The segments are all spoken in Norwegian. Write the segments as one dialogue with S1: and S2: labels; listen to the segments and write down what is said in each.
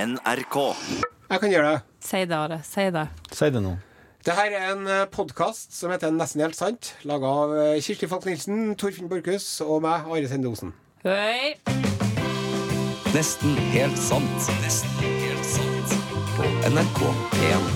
S1: NRK.
S2: Jeg kan gjøre det.
S3: Si det, Are. Si det.
S4: Si det nå.
S2: Det her er en podkast som heter Nesten helt sant, laga av eh, Kirsti Falk Nilsen, Torfinn Borchhus og meg, Are Sende Osen.
S3: Hei.
S5: Nesten helt sant. Nesten helt sant. På NRK1.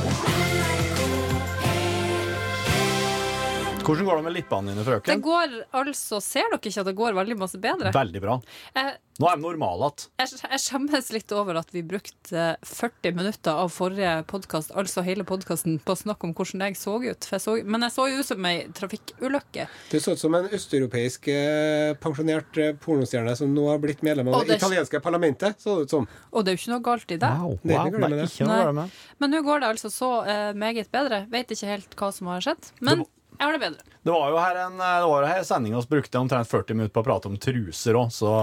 S4: Hvordan går det med lippene dine,
S3: Det
S4: frøken?
S3: går altså Ser dere ikke at det går veldig masse bedre?
S4: Veldig bra.
S3: Jeg,
S4: Nå er de normale igjen.
S3: jeg, jeg skjemmes litt over at vi brukte 40 minutter av forrige podkast, altså hele podkasten, på å snakke om hvordan jeg så ut. For jeg så, men jeg så jo ut som ei trafikkulykke.
S2: Du så ut som en østeuropeisk eh, pensjonert eh, pornostjerne som nå har blitt medlem av
S3: Og
S2: det
S3: det-
S2: italienske parlamentet. Så det ut som.
S3: Og det er jo ikke noe galt i det.
S4: Wow.
S2: Nei,
S4: wow.
S2: det går det med
S4: Nei,
S2: det.
S4: ikke noe
S3: Nei.
S4: å med.
S3: Men nå går det altså så eh, meget bedre. Vet ikke helt hva som har skjedd, men jeg har det bedre.
S4: Det var jo her en det var jo her sendinga vi brukte omtrent 40 minutter på å prate om truser òg, så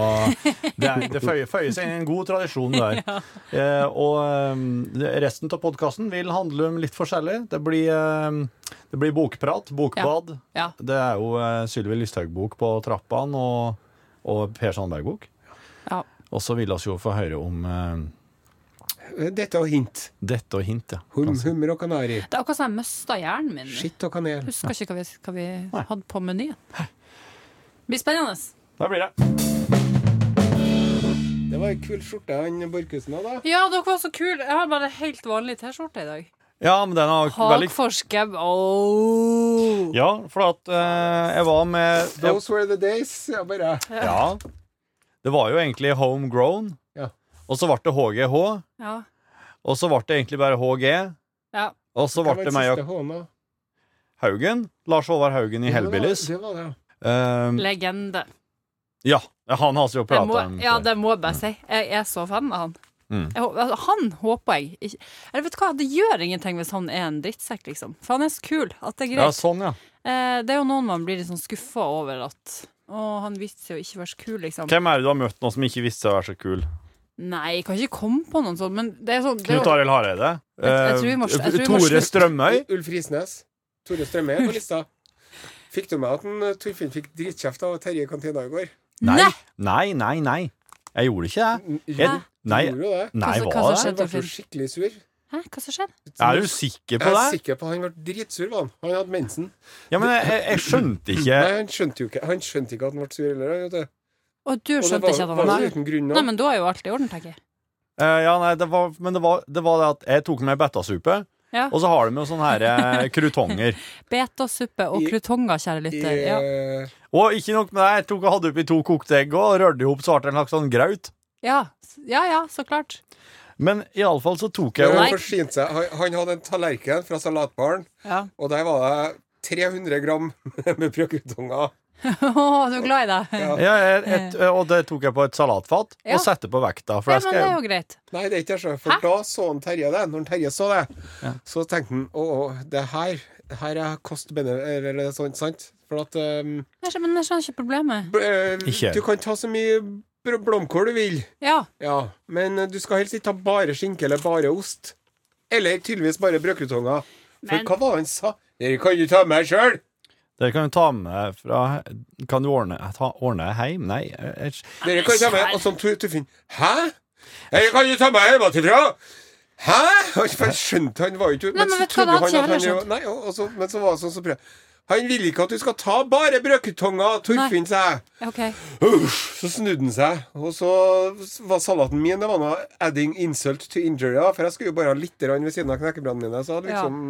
S4: det, er- det føyer, føyer seg inn i en god tradisjon der. Eh, og eh, resten av podkasten vil handle om litt forskjellig. Det blir, eh, det blir bokprat, bokbad.
S3: Ja.
S4: Det er jo eh, Sylvi Lysthaug-bok på trappene, og, og Per Sandberg-bok.
S3: Ja.
S4: Og så vil vi jo få høre om eh,
S2: Eh, Dette og hint.
S4: dette og hint, ja.
S2: Hum,
S4: Kanskje.
S2: hummer og kanari.
S3: Det er akkurat som jeg mista hjernen min. nå.
S2: Skitt og kanel.
S3: Husker ikke hva vi, hva vi hadde på menyen. Det blir spennende.
S4: Der blir det.
S2: Det var ei kul skjorte han Borchhusen hadde.
S3: Ja, dere var så kule. Jeg har bare helt vanlig T-skjorte i dag.
S4: Ja, men den har veldig
S3: Hakforskab. Oh.
S4: Ja, for at eh, jeg var med
S2: Those were the days. Ja, bare.
S4: Ja. Det var jo egentlig homegrown.
S2: Ja.
S4: Og så ble det HGH.
S3: Ja.
S4: Og så ble det egentlig bare HG.
S3: ja.
S4: Og så
S2: Hva
S4: ble
S2: var
S4: det
S2: den
S4: meg og
S2: siste håna?
S4: Haugen. Lars Håvard Haugen
S2: Ja,
S4: i
S2: det var-
S4: Hellbillies.
S2: Det var det, ja.
S4: Um,
S3: Legende.
S4: ja. Han har vi jo
S3: Det
S4: prata
S3: må,
S4: om.
S3: ja,
S4: før.
S3: det må jeg bare si. Jeg er så fan av han.
S4: Mm.
S3: Jeg, hå- altså, han håper jeg ikke Eller vet du hva, det gjør ingenting hvis han er en drittsekk, liksom. For han er så kul at det er
S4: ja,
S3: greit.
S4: sånn, ja.
S3: Eh, det er jo noen man blir litt sånn skuffa over at Å, han viste seg å ikke være så kul, liksom.
S4: Hvem er det du har møtt nå som ikke visste seg å være så kul?
S3: Nei, jeg kan ikke komme på noen sånn, men det er sånn det er jo-
S4: Knut Arild Hareide?
S3: Jeg- jeg tror vi må-
S4: Eh,
S3: jeg tror vi må
S4: Tore
S3: slutte.
S4: Strømøy?
S2: Ulf Risnes. Tore Strømme er på lista. Fikk du med at en, eh, Torfinn fikk dritkjeft av Terje i kantina i går?
S4: Nei.
S3: Nei!
S4: Nei, nei, nei. Jeg gjorde ikke det. Jeg,
S2: Jo,
S4: nei,
S2: Gjorde jo det.
S4: nei,
S3: Hva- hva
S4: var
S3: som
S4: det?
S2: Han ble
S3: Torfinn.
S2: jo skikkelig sur.
S3: Hæ, hva som skjedde?
S4: Er du sikker
S2: Jeg
S4: på
S2: er
S4: det?
S2: sikker på at han ble dritsur. Var han. han hadde mensen.
S4: Ja, men jeg, jeg, jeg skjønte ikke
S2: Nei, han skjønte jo ikke Han skjønte ikke at han ble sur heller. vet du.
S3: Og du
S2: Og det
S3: skjønte
S2: var,
S3: ikke at han
S2: var
S3: var
S2: jo
S3: der?
S2: uten grunn.
S3: Nei,
S2: Nei,
S3: men da er jo alt i orden, tenker jeg.
S4: Eh, ja, nei, det var, men det var, det var det at jeg tok med betasupe,
S3: Ja.
S4: og så har de jo sånne her eh, krutonger.
S3: Betasuppe og
S2: I- eh,
S3: krutonger, kjære lytter. Ja.
S2: I,
S4: Og ikke nok med det, jeg tok og hadde oppi to kokte egg og rørte ihop så ble det en slags sånn graut.
S3: Ja. ja ja, så klart.
S4: Men iallfall så tok
S2: det
S4: jeg jo
S2: var
S3: Nei.
S2: forsynt seg. Han, han hadde en tallerken fra salatbaren,
S3: Ja.
S2: og der var det 300 gram med brødkrutonger.
S3: Å, du er glad i det?
S2: Ja.
S4: ja, et, Og det tok jeg på et salatfat
S3: Ja.
S4: og satte på vekta. For
S3: Ja,
S4: jeg
S3: men det er
S4: skal,
S3: jo greit.
S2: Nei, det er ikke det. så- For
S3: Hæ?
S2: da så han Terje det. Når Terje så det, så tenkte han å, å, det her Her er kost bene... Eller sånt, sant? For at um,
S3: Jeg skjønner, men jeg skjønner ikke problemet.
S2: bl- eh,
S4: Ikke.
S2: Du kan ta så mye br- blomkål du vil.
S3: Ja.
S2: Ja, men eh, du skal helst ikke ha bare skinke eller bare ost. Eller tydeligvis bare brødkrutonger. For
S3: Men-
S2: hva var det han sa? Dere kan jo ta med sjøl!
S4: det kan du ta med fra Kan du ordne ta, ordne det hjem? Nei. Jeg, jeg-
S2: Dere kan jo ta med Og så Tor- Torfinn Hæ? Dere kan jo ta med hjemmefra! Hæ?! For jeg skjønte han var jo ikke
S3: Nei, men
S2: så
S3: vet du hva, det
S2: trodde
S3: hadde
S2: han
S3: ikke
S2: at
S3: jeg
S2: han jo- Nei, og, og så, men så var det sånn som prøv. Han vil ikke at du skal ta bare brødkrutonger, Torfinn, sa jeg.
S3: OK.
S2: Uff, så snudde han seg, og så var salaten min Det var noe adding insult to injury, da, for jeg skulle jo bare ha litt grann ved siden av knekkebrødene mine. Så hadde liksom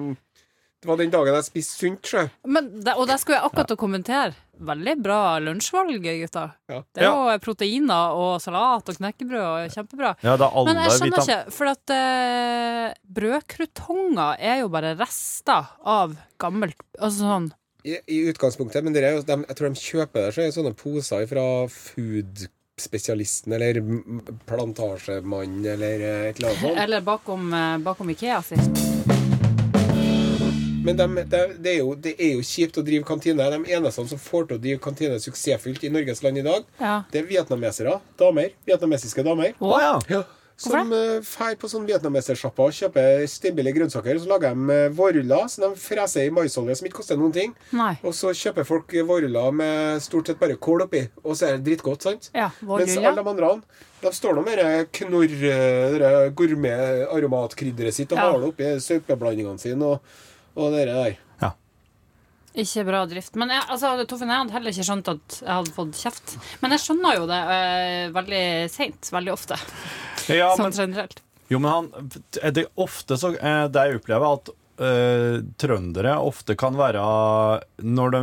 S2: Det var den dagen jeg spiste sunt, sjø.
S3: Men det, og det skulle jeg akkurat å kommentere. Veldig bra lunsjvalg, gutter.
S2: Ja.
S3: Det er jo proteiner og salat og knekkebrød. Og kjempebra.
S4: ja, det er alle
S3: Men jeg skjønner
S4: vitam-
S3: ikke, for at eh, brødkrutonger er jo bare rester av gammelt Altså sånn
S2: I, I utgangspunktet, men dere, er jo- dem- jeg tror de kjøper det, så er det sånne poser fra food-spesialisten eller m- plantasjemannen eller eh, et eller annet sånt.
S3: Eller bakom, eh, bakom Ikea si.
S2: Men dem- det- det, er jo, det er jo kjipt å drive kantine. De eneste som får til å drive kantine suksessfullt i Norges land i dag,
S3: Ja.
S2: det er vietnamesere. Damer. Vietnamesiske damer.
S4: Å ja.
S2: Ja. Som eh, fær på sånn vietnamesersjappa og kjøper stabile grønnsaker. Så lager de eh, vårruller som de freser i maisolje, som ikke koster noen ting.
S3: Nei.
S2: Og så kjøper folk vårruller med stort sett bare kål oppi, og så er det drittgodt, sant?
S3: Ja,
S2: Mens
S3: vårruller.
S2: alle de andre, de står nå med det knorr, eh, det gourmet-aromatkrydderet sitt og
S3: Ja.
S2: maler oppi saupeblandingene sine og, og det der.
S4: Ja.
S3: Ikke bra drift. Men jeg, altså, Toffen, jeg hadde heller ikke skjønt at jeg hadde fått kjeft. Men jeg skjønner jo det eh, veldig seint. Veldig ofte.
S4: Ja,
S3: sånn
S4: men,
S3: generelt.
S4: jo, men han, det er ofte så eh, Det jeg opplever, at eh, trøndere ofte kan være Når de,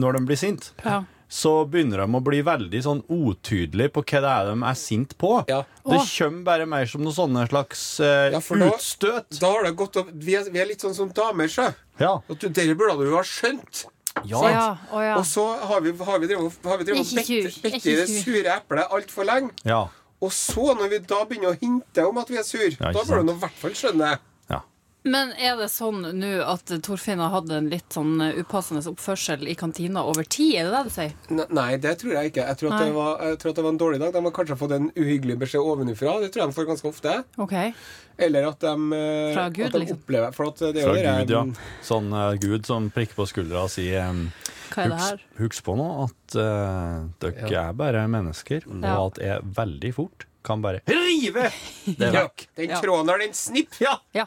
S4: når de blir sint,
S3: Ja.
S4: så begynner de å bli veldig sånn utydelige på hva det er de er sint på.
S2: Ja.
S4: Det
S3: Åh.
S4: kommer bare mer som noen sånne slags eh,
S2: Ja, for da-
S4: utstøt.
S2: Da har det gått opp Vi er, vi er litt sånn som damer, sjø.
S4: ja.
S2: At du- Dere burde du jo ha skjønt.
S4: ja.
S3: Så ja, å ja.
S2: Og så har vi, har vi drevet har vi drevet og
S3: Ikke
S2: bedt-
S3: sur,
S2: bedt
S3: ikke
S2: i det
S3: sur.
S2: sure eplet altfor lenge.
S4: ja.
S2: Og så, når vi da begynner å hinte om at vi er sur,
S4: ikke
S2: da bør du
S4: sant.
S2: nå i hvert fall skjønne.
S4: ja.
S3: Men er det sånn nå at Torfinn har hatt en litt sånn upassende oppførsel i kantina over tid? Er det det du sier?
S2: Ne- Nei, det tror jeg ikke. Jeg tror, at
S3: Nei.
S2: det var, jeg tror at det var en dårlig dag. De har kanskje fått en uhyggelig beskjed ovenfra. Det tror jeg de får ganske ofte.
S3: Ok.
S2: Eller at de, eh,
S3: Fra Gud,
S2: at de
S3: liksom.
S2: opplever For at det er
S4: Fra
S2: jo det
S4: Gud, ja.
S2: mm,
S4: Sånn eh, Gud som prikker på skuldra og sier um,
S3: Hva er det her?
S4: Husk på nå at eh, dere er bare mennesker,
S3: Ja.
S4: og at jeg veldig fort kan bare rive det
S2: ja,
S4: vekk.
S2: Den
S3: Ja.
S2: tråden der, den snipp!
S4: Ja.
S3: Ja.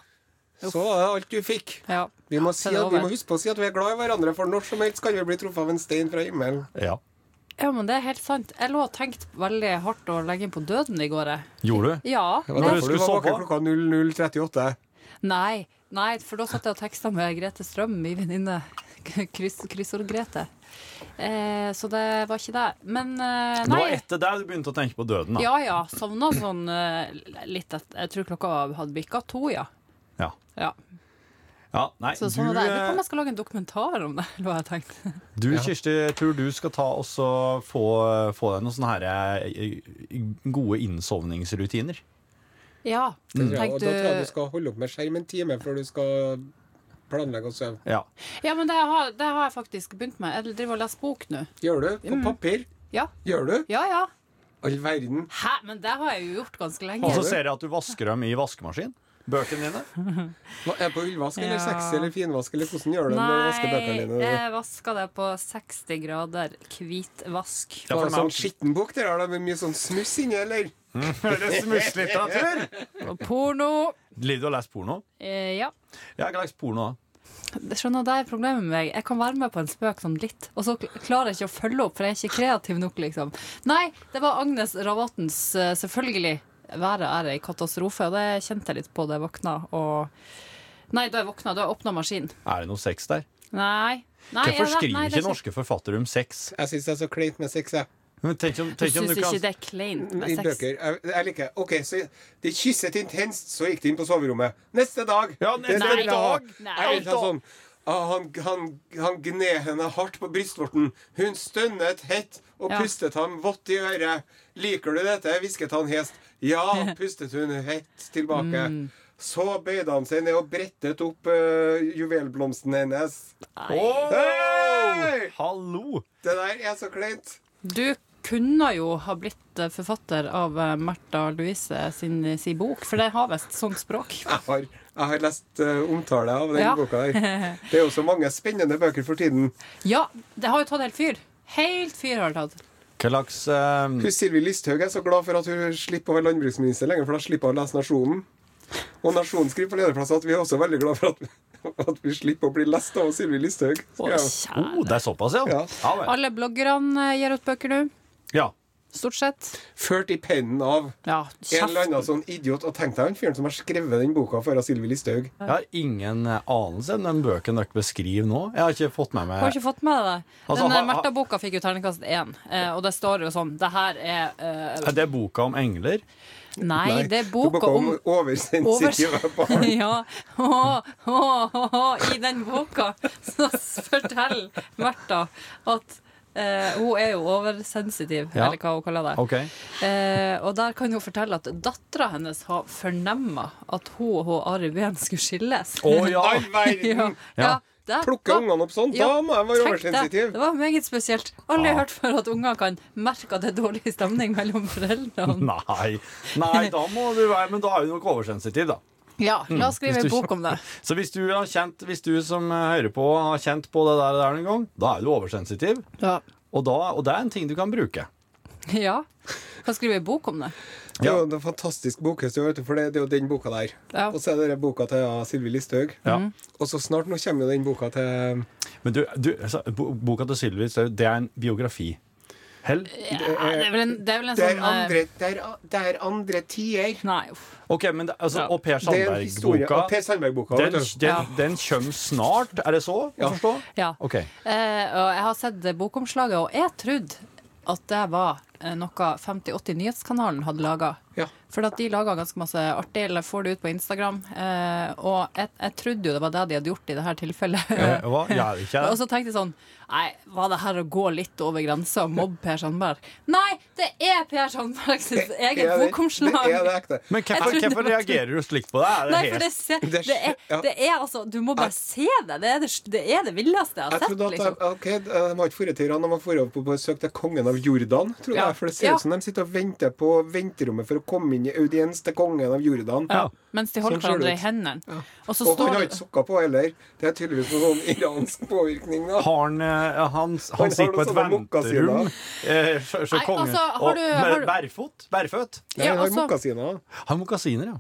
S2: Så var det alt du fikk.
S3: ja.
S2: Vi må, si
S3: det er
S2: at, vi
S3: over.
S2: må huske på å si at vi er glad i hverandre, for når som helst kan vi bli truffet av en stein fra himmelen.
S4: ja.
S3: Ja, men det er helt sant. Jeg lå og tenkte veldig hardt å legge inn på døden i går. jeg.
S4: Gjorde du?
S3: Ja.
S2: Det var
S4: Men-
S2: derfor du var våken klokka 00.38.
S3: Nei, nei, for da satt jeg og teksta med Grete Strøm, min venninne. Kryss, Kryssord-Grete. Eh, så det var ikke det. Men eh,
S4: Det
S3: nei.
S4: var etter der du begynte å tenke på døden, da.
S3: Ja ja, sovna sånn eh, litt et, Jeg tror klokka hadde bikka to, ja.
S4: Ja.
S3: ja.
S4: Ja, nei,
S3: Så sånn
S4: du,
S3: er det. Lurer på om
S4: eh,
S3: jeg skal lage en dokumentar om det, lå jeg og tenkte.
S4: du Kirsti, jeg tror du skal ta og så få, få deg noen sånne her eh, gode innsovningsrutiner.
S3: Ja.
S2: Det tror jeg, og
S3: Tenkte
S2: da tror jeg du
S3: du
S2: skal holde opp med skjerm en time før du skal planlegge å sove.
S4: Ja.
S3: Ja, men det har, det har jeg faktisk begynt med. Jeg driver og leser bok nå.
S2: Gjør du?
S3: Mm.
S2: På papir?
S3: Ja.
S2: Gjør du?
S3: Ja ja.
S2: All verden.
S3: Hæ? Men det har jeg jo gjort ganske lenge.
S4: Og så ser jeg at du vasker dem i vaskemaskin. Bøkene dine.
S2: Hva, er det på ullvask eller
S3: Ja.
S2: sexy eller finvask, eller hvordan gjør du det når du vasker
S3: Nei, eh,
S2: bøkene dine?
S3: jeg vaska det på 60 grader hvit vask.
S4: Ja,
S2: Ja,
S4: for
S2: for
S4: dem
S2: sånn
S4: er-
S2: skitten bok der, har det mye sånn smuss inni, eller?
S4: Høres smusslitteratur!
S3: Og porno
S4: Liv, du har lest porno?
S3: eh, Ja.
S4: Jeg har ikke lest porno, da.
S3: Jeg Skjønner det er problemet med meg. Jeg kan være med på en spøk sånn litt, og så kl- klarer jeg ikke å følge opp, for jeg er ikke kreativ nok, liksom. Nei, det var Agnes Ravatens eh, 'Selvfølgelig'. Været er ei katastrofe, og det kjente jeg litt på da jeg våkna og Nei, da jeg våkna, da jeg åpna maskinen.
S4: Er det noe sex der?
S3: Nei. nei
S4: Hvorfor
S3: jeg-
S4: skriver
S3: nei, det
S4: ikke
S3: er
S4: norske forfattere om sex?
S2: Jeg syns det er så kleint med sex, jeg.
S4: Men tenk om,
S3: Du
S4: tenk om
S3: syns
S4: du
S3: ikke
S4: kan
S3: det er kleint med
S2: I
S3: sex?
S2: bøker. Jeg, jeg liker OK, så de kysset intenst, så gikk de inn på soverommet. Neste dag!
S4: Ja, neste
S2: Det vil jeg ha.
S4: dag.
S3: Nei.
S2: Jeg vil ha sånn ah, han, han, han gned henne hardt på brystvorten. Hun stønnet hett og
S3: Ja.
S2: pustet ham vått i øret. Liker du dette? hvisket han hest. Ja, pustet hun hett tilbake.
S3: Mm.
S2: Så bøyde han seg ned og brettet opp eh, juvelblomsten hennes.
S4: Åh!
S2: Hei!
S4: Hallo!
S2: Det der er så kleint.
S3: Du kunne jo ha blitt eh, forfatter av eh, Märtha Louise sin, sin bok, for det har visst sånt språk.
S2: Jeg har, jeg har lest eh, omtale av den
S3: Ja.
S2: boka der. Det er jo så mange spennende bøker for tiden.
S3: Ja, det har jo tatt helt fyr. Helt fyr har det tatt.
S4: Hva slags eh,
S2: Hun Sylvi Listhaug er så glad for at hun slipper å være landbruksminister lenger, for da slipper hun å lese Nasjonen. Og Nasjonen skriver på lederplass at vi er også veldig glad for at, at vi slipper å bli lest av Sylvi Listhaug.
S3: Å,
S2: Ja.
S4: oh,
S3: kjære.
S4: Det er såpass, ja?
S2: Ja.
S4: Ja, vel.
S3: Alle bloggerne eh, gir ut bøker nå.
S4: ja.
S3: Stort sett.
S2: Ført i pennen av
S3: Ja,
S2: en eller
S3: kjeft.
S2: annen sånn idiot. Og tenk deg han fyren som har skrevet den boka for av Sylvi Listhaug.
S4: Jeg har ingen eh, anelse om den bøken dere beskriver nå. Jeg har ikke fått med
S3: Har
S4: meg
S3: ikke fått med deg det.
S4: Altså,
S3: Den
S4: har-
S3: eh, Märtha-boka fikk jo terningkast én, eh, og det står jo sånn Det her er eh,
S4: Er det boka om engler?
S3: Nei, det er
S2: Du
S3: boka om
S2: oversensitive barn.
S3: Ja. Å, å, å, å. I den boka så forteller Märtha at eh, hun er jo oversensitiv,
S4: Ja.
S3: eller hva hun kaller det.
S4: OK.
S3: Eh, og der kan hun fortelle at dattera hennes har fornemma at hun og hun Ari Behn skulle skilles.
S4: Å ja!
S2: All verden!
S3: ja.
S4: Ja.
S3: ja. det
S2: Plukker
S3: var-
S2: ungene opp sånn?
S3: Ja,
S2: Da må jeg være
S3: tenk det.
S2: oversensitiv.
S3: Det var meget spesielt. Aldri
S4: Ja.
S3: hørt før at unger kan merke at det er dårlig stemning mellom foreldrene.
S4: Nei, Nei da må du være Men da er du nok oversensitiv, da.
S3: Ja, la oss skrive en
S4: Hvis du-
S3: bok om det.
S4: Så hvis du, har kjent, hvis du som eh, hører på, har kjent på det der, der en gang, da er du oversensitiv.
S3: Ja.
S4: Og, da, og det er en ting du kan bruke.
S3: ja. Kan skrive en bok om det.
S2: Det er jo en fantastisk bokhøst, vet du, for det, det er jo den boka der.
S3: Ja.
S2: Og så er det den boka til ja, Sylvi Listhaug.
S4: Ja.
S3: Mhm.
S2: Og så snart nå kommer jo den boka til
S4: Men du, du altså, bo- boka til Sylvi Listhaug, det er en biografi. Hell?
S3: Ja, det er vel en, det er vel
S2: Eh,
S3: en
S2: Det er
S3: sånn eh,
S2: andre, det er, det er andre tider.
S3: Nei, uff.
S4: Ok, men det, altså,
S3: Ja.
S4: Og Per
S2: Det er en historie.
S4: Sandberg-boka.
S2: og Per Sandberg-boka.
S4: Den,
S2: vet du.
S4: den, den kommer snart, er det så? å Forstå?
S3: Ja.
S4: Ok.
S3: Eh, og jeg har sett eh, bokomslaget, og jeg trodde at det var eh, noe 5080 Nyhetskanalen hadde laga.
S2: Ja.
S3: For at de laga ganske masse artig, eller får det ut på Instagram. Eh, og jeg, jeg trodde jo det var det de hadde gjort i det her tilfellet.
S4: Eh, Hva? Jeg er ikke
S3: Og
S4: her.
S3: så tenkte jeg sånn Nei, var det her å gå litt over grensa og mobbe Per Sandberg? Nei, det er Per Sandbergs eget
S2: Er det-
S3: bokomslag!
S2: Det er det ekte.
S4: Men hvorfor,
S3: Jeg trodde
S4: hvorfor
S3: det var-
S4: reagerer du slikt på det? Er det
S3: Nei, for
S4: helt
S3: det, ser,
S2: Det er-
S3: det, er,
S2: ja.
S3: det er altså Du må bare se det. Det er det, det, er det villeste jeg
S2: Jeg
S3: har sett.
S2: trodde at
S3: Liksom.
S2: de, ok, de har ikke dratt til Iran, de har dratt på besøk til kongen av Jordan. Tror
S3: Ja.
S2: jeg, for det ser
S3: Ja.
S2: ut som de sitter og venter på venterommet for å komme inn i audiens til kongen av Jordan.
S4: Ja.
S3: Mens de holder
S2: Sånn ser det
S3: hverandre
S2: ut.
S3: i hendene. Og så
S2: Og han
S3: står
S2: har ikke sokker på heller. Det er tydeligvis noe sånn iransk påvirkning. da
S4: Har han, eh, han,
S2: har
S4: han sitter på et
S2: noen sånne
S4: venterom eh, så, så
S3: Nei,
S4: kongen,
S3: altså, har
S4: og-
S3: du-
S4: med
S3: har du-
S4: Bærfot? Bærføtt?
S2: Nei, han har
S3: altså-
S2: mokasiner.
S4: Har mokasiner, ja.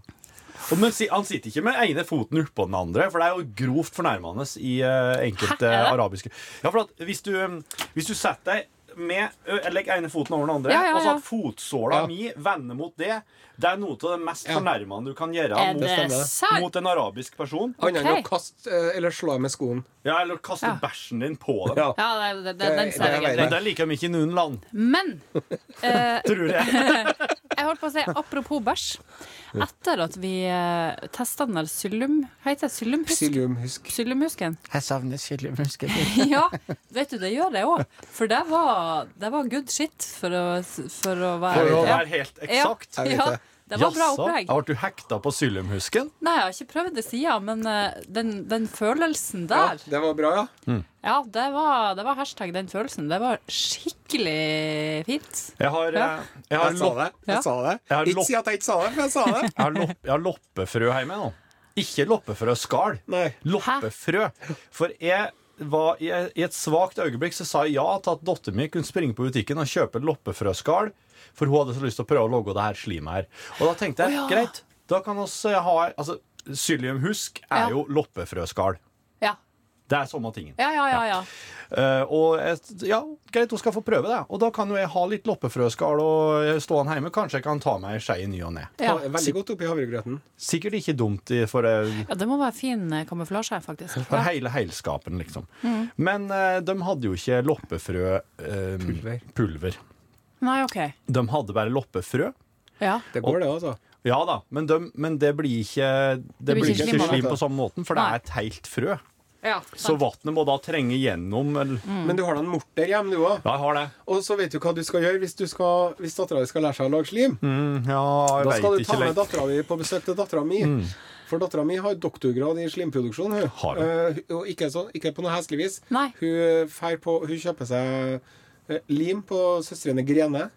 S4: Og men, si- han sitter ikke med ene foten oppå den andre, for det er jo grovt fornærmende i eh, enkelte
S3: Hæ, er det?
S4: arabiske Ja, for at hvis du, eh, hvis du setter deg med ø, Legg ene foten over den andre,
S3: Ja, ja,
S4: og så
S3: ja.
S4: at fotsåla
S2: Ja.
S4: mi vender mot det, det er noe av det mest fornærmende du kan gjøre
S3: Er
S4: mot,
S3: det sant?
S4: mot en arabisk person.
S2: Annet enn å
S3: Ok.
S2: kaste eh, eller slå med skoen.
S4: Ja, eller kaste
S3: Ja.
S4: bæsjen din på dem.
S2: Ja.
S3: Ja, det, det, det,
S2: Det-
S3: den ser
S2: det er
S3: jeg
S4: Men
S2: verre.
S3: greit.
S4: det liker de ikke i noen land,
S3: Men eh,
S4: tror jeg.
S3: jeg holdt på å si apropos bæsj. Etter at vi eh, testa den der syllum... Hva heter det? Syllumhusk?
S2: Psyllium, husk.
S3: Syllumhusken?
S4: Jeg savner syllemusket.
S3: Ja, vet du, det gjør jeg òg. For det var, det var good shit, for å, for å
S4: For å
S3: være
S4: være helt eksakt.
S3: Ja,
S2: Jeg vet
S3: ja,
S2: det.
S3: det var bra
S4: Jaså,
S3: opplegg.
S4: da Ble du hekta på syllumhusken?
S3: Nei, jeg har ikke prøvd det siden, men eh, den, den følelsen
S2: Ja,
S3: der
S2: det var bra, ja.
S3: Ja, det var, det var hashtag den følelsen. Det var skikkelig fint.
S4: Jeg har,
S3: Ja.
S4: eh, jeg har
S2: Jeg sa det.
S3: Ja.
S2: Jeg sa det.
S4: Jeg har
S2: Ikke si at jeg ikke sa det, for jeg sa det.
S4: Jeg har, lopp, jeg har loppefrø hjemme nå. Ikke loppefrø skall.
S2: Nei.
S4: Loppefrø. For jeg var i i et svakt øyeblikk så sa jeg ja til at datteren min kunne springe på butikken og kjøpe loppefrøskall, for hun hadde så lyst til å prøve å logge det her slimet her. Og da tenkte jeg greit, da kan oss eh, ha Altså, psylliumhusk
S3: Ja.
S4: er jo loppefrøskall.
S3: Ja,
S4: Det er samme tingen.
S3: ja, ja. ja, ja.
S4: Eh, og jeg, ja, greit, hun skal få prøve det. Og da kan jo jeg ha litt loppefrøskall og eh, stå han hjemme. Kanskje jeg kan ta meg en skei i ny og ne.
S3: Ja.
S2: Ta- Veldig godt oppi havregrøten.
S4: Sikkert ikke dumt i- for eh,
S3: Ja, Det må være fin eh, kamuflasje, faktisk.
S4: For
S3: Ja.
S4: hele heilskapen, liksom. Men eh, de hadde jo ikke loppefrøpulver.
S2: Pulver.
S4: pulver.
S3: Nei, OK.
S4: De hadde bare loppefrø.
S3: Ja.
S2: Det går, det, altså.
S4: Ja da, men, de, men det blir ikke Det, blir ikke
S3: slim av
S4: slim
S2: det.
S4: på samme måten, for det
S3: Nei.
S4: er et helt frø.
S3: ja
S4: Så
S3: sant.
S4: vannet må da trenge gjennom eller-
S3: Mm.
S2: Men du har da en morter hjemme, du òg.
S4: Ja, jeg har det.
S2: Og så vet du hva du skal gjøre hvis, du skal- hvis dattera di skal lære seg å lage slim.
S4: Ja, Mm. jeg
S2: Da
S4: vet
S2: skal du ta
S4: ikke
S2: med
S4: lenger.
S2: dattera di på besøk til dattera mi. For dattera mi har doktorgrad i slimproduksjon. Hun.
S4: Har hun?
S2: Eh, hun- og ikke, sånn, ikke på noe heslig vis.
S3: Nei.
S2: Hun, fær på, hun kjøper seg eh, lim på søstrene Grene.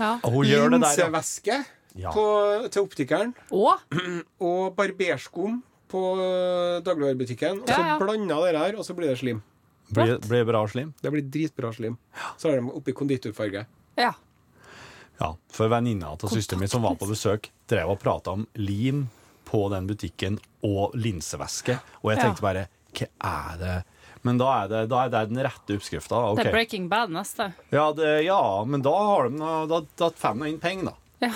S3: Ja.
S4: Og hun gjør det der, ja.
S2: Linsevæske
S4: Ja.
S2: på- til optikeren.
S3: Og
S2: Og barberskum på eh, dagligvarebutikken. Og så
S3: Ja, ja.
S2: blander det der, og så blir det slim.
S4: Blir, blir bra slim.
S2: Det blir dritbra slim. Så har de oppi konditorfarge.
S3: Ja.
S4: Ja, for venninna til søsteren min som var på besøk, drev og prata om lim på den butikken og linsevæske. Og jeg tenkte bare Hva er det? Men da er det, da er det den rette oppskrifta. da.
S3: Det er
S4: ok.
S3: Breaking Bad neste.
S4: Ja, det, ja, men da har de nå- da, da får de inn penger, da.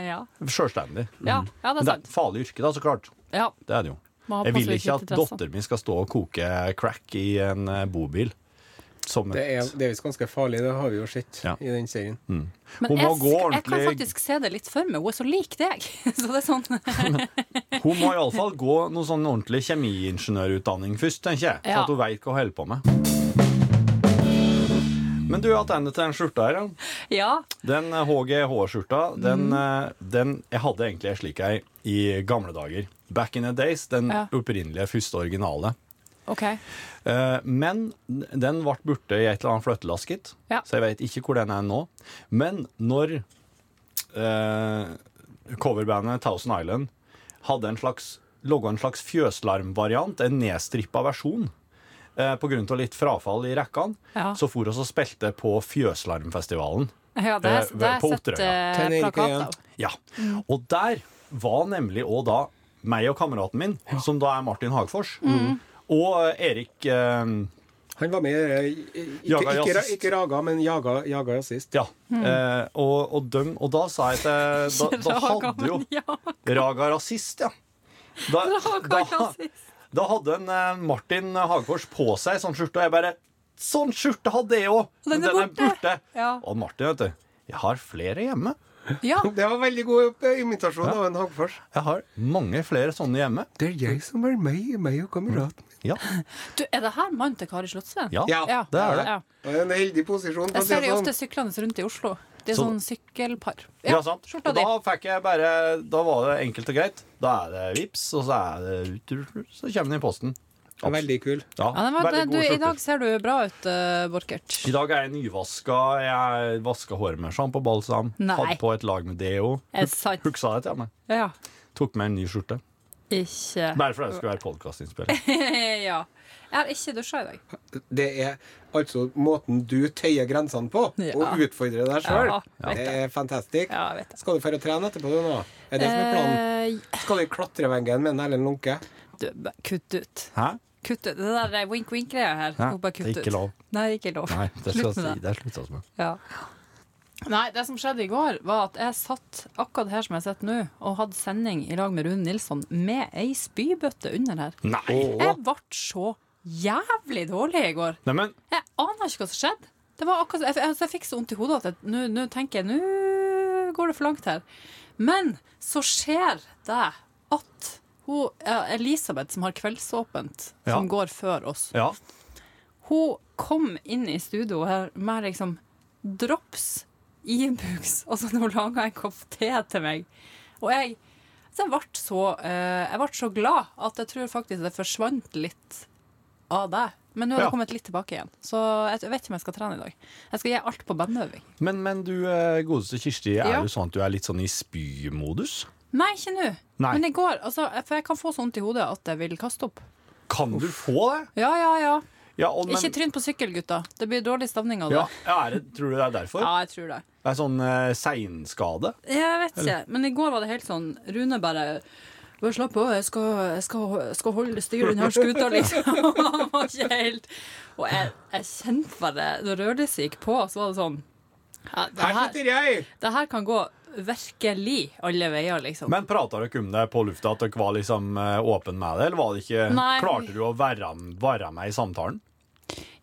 S3: ja.
S4: Sjølstendig. Mm.
S3: Ja, ja, det er
S4: Men
S3: sant.
S4: et farlig yrke, da, så klart.
S3: ja.
S4: Det er det jo.
S3: Må ha
S4: Jeg
S3: på
S4: vil
S3: seg
S4: ikke at
S3: litt interesse.
S4: datteren min skal stå og koke crack i en eh, bobil. Som
S2: Det er,
S4: et
S2: det er visst ganske farlig, det har vi jo sett
S4: Ja. Mm.
S2: i den serien.
S3: Men
S4: Hun
S3: jeg,
S4: må
S3: sk-
S4: gå
S3: jeg kan
S4: ordentlig-
S3: faktisk se det litt for meg. Hun er så lik deg. Så det er sånn
S4: Hun må iallfall gå noe sånn ordentlig kjemiingeniørutdanning først, tenker jeg. Så
S3: Ja.
S4: at hun veit hva hun holder på med. Men du, tilbake til den skjorta her. ja.
S3: Ja.
S4: Den eh, HGH-skjorta, den,
S3: Mm.
S4: eh, den Jeg hadde egentlig ei slik ei i gamle dager. Back in the days. Den
S3: Ja.
S4: opprinnelige, første originale.
S3: OK.
S4: Eh, Men den ble borte i et eller annet flyttelasket,
S3: Ja.
S4: så jeg vet ikke hvor den er nå. Men når eh, coverbandet Thousand Island hadde en slags, logget en slags fjøslarmvariant, en nedstrippa versjon, eh, på grunn av litt frafall i rekkene,
S3: Ja.
S4: så for oss og spilte på Fjøslarmfestivalen.
S3: Ja, det har
S4: Eh,
S3: det har
S4: på
S3: jeg sett
S4: Otrøya.
S3: eh,
S2: Tenerife
S3: plakat
S2: igjen.
S3: av.
S4: Ja.
S3: Mm.
S4: Og der var nemlig òg da meg og kameraten min, som da er Martin Hagfors,
S3: Mm.
S4: og eh, Erik eh,
S2: Han var med eh, ikke,
S4: Jaga
S2: ikke, ikke,
S4: jazzist.
S2: ikke Raga, men Jaga, jaga jazzist.
S4: Ja. Eh, og, og, dem, og da sa jeg at eh, da, da hadde jo
S3: Ja,
S4: Raga rasist, ja. Da,
S3: Raga
S4: da,
S3: rasist.
S4: da hadde en eh, Martin Hagfors på seg sånn skjorte, og jeg bare Sånn skjorte hadde jeg òg!
S3: den er borte. Ja.
S4: Og Martin, vet du. Jeg har flere hjemme.
S3: ja.
S2: Det var veldig god eh, imitasjon av en Hagfors.
S4: Jeg har mange flere sånne hjemme.
S2: Det er jeg som er meg, meg og kameraten.
S4: Ja,
S3: Du, er det her mannen til Kari Slottsveen?
S4: ja.
S2: Ja.
S4: det er det.
S3: Ja.
S2: Det er en heldig posisjon. for å
S3: Jeg
S2: si
S3: ser
S2: det
S3: de
S2: sånn.
S3: ofte syklende rundt i Oslo. De er
S4: Så-
S3: sånn sykkelpar.
S4: Ja, sant.
S3: Skjorta
S4: Og
S3: di.
S4: da fikk jeg bare Da var det enkelt og greit. Da er det vips, og så er det ut, så kommer den i posten.
S2: Det er Veldig kul.
S4: Ja,
S3: Ja, den var,
S4: veldig
S3: du,
S4: gode
S3: I
S4: skjorter.
S3: dag ser du bra ut, eh, Borchert.
S4: I dag er jeg nyvaska. Jeg vaska håret med sjampobalsam.
S3: Nei.
S4: Hadde på et lag med deo.
S3: Er det sant?
S4: Huksa det til meg.
S3: Ja.
S4: Tok med en ny skjorte.
S3: Ikke
S4: Bare fordi det skulle være podkastinnspilling.
S3: Ja. Jeg har ikke dusja i dag.
S2: Det er altså måten du tøyer grensene på,
S3: Ja.
S2: og utfordrer deg sjøl.
S3: Ja, vet
S2: det er fantastisk.
S3: Ja, jeg vet det.
S2: Skal du dra og trene etterpå, du nå? Er det som er planen?
S3: Eh,
S2: Skal du i klatreveggen med en Erlend Lunke?
S3: du, bare kutt ut.
S4: Hæ?
S3: Kutt ut. Det der wink-wink-greia her.
S4: Hæ?
S3: må bare kutt
S4: Det er ikke
S3: ut.
S4: lov.
S3: Nei, ikke lov.
S4: Nei, det skal
S3: Slutt med
S4: jeg
S3: det.
S4: si. Det er altså. slutta som
S3: Ja. Nei, det som skjedde i går, var at jeg satt akkurat her som jeg sitter nå, og hadde sending i lag med Rune Nilsson med ei spybøtte under her.
S4: Nei!
S3: Jeg ble så jævlig dårlig i går.
S4: Neimen,
S3: Jeg aner ikke hva som skjedde. Det var akkurat, jeg, altså, jeg fikk så vondt i hodet at jeg- nå nå tenker jeg nå går det for langt her. Men så skjer det at hun, ja, Elisabeth, som har kveldsåpent, som
S4: Ja.
S3: går før oss,
S4: ja.
S3: hun kom inn i studio her med liksom drops, Ibux, og så hadde hun laga en kopp te til meg. Og jeg, så jeg, ble så, eh, jeg ble så glad at jeg tror faktisk det forsvant litt av deg. Men nå har
S4: Ja.
S3: det kommet litt tilbake igjen, så jeg vet ikke om jeg skal trene i dag. Jeg skal gi alt på bandøving.
S4: Men, men du eh, godeste Kirsti, er
S3: Ja.
S4: du sånn at du er litt sånn i spymodus?
S3: Nei, ikke nå.
S4: Nei.
S3: Men i går. Altså, for jeg kan få så vondt i hodet at jeg vil kaste opp.
S4: Kan du få det?
S3: Ja, ja, ja.
S4: Ja, og, men,
S3: Ikke tryn på sykkel, gutter. Det blir dårlig stemning av det.
S4: ja, er det, tror du det er derfor?
S3: Ja, jeg tror det.
S4: Det er sånn eh, seinskade?
S3: Jeg vet ikke. Men i går var det helt sånn Rune bare bare slapp av, jeg skal, jeg skal, jeg skal holde styr under skuta, liksom. Han var ikke helt Og jeg, jeg kjente bare Da rødlyset gikk på, så var det sånn ja, det,
S2: Her
S3: her,
S2: sitter jeg!
S3: det her kan gå virkelig alle veier, liksom.
S4: Men prata dere om det på lufta, at dere var liksom eh, åpen med det? Eller var det ikke,
S3: Nei.
S4: klarte du å være, være med i samtalen?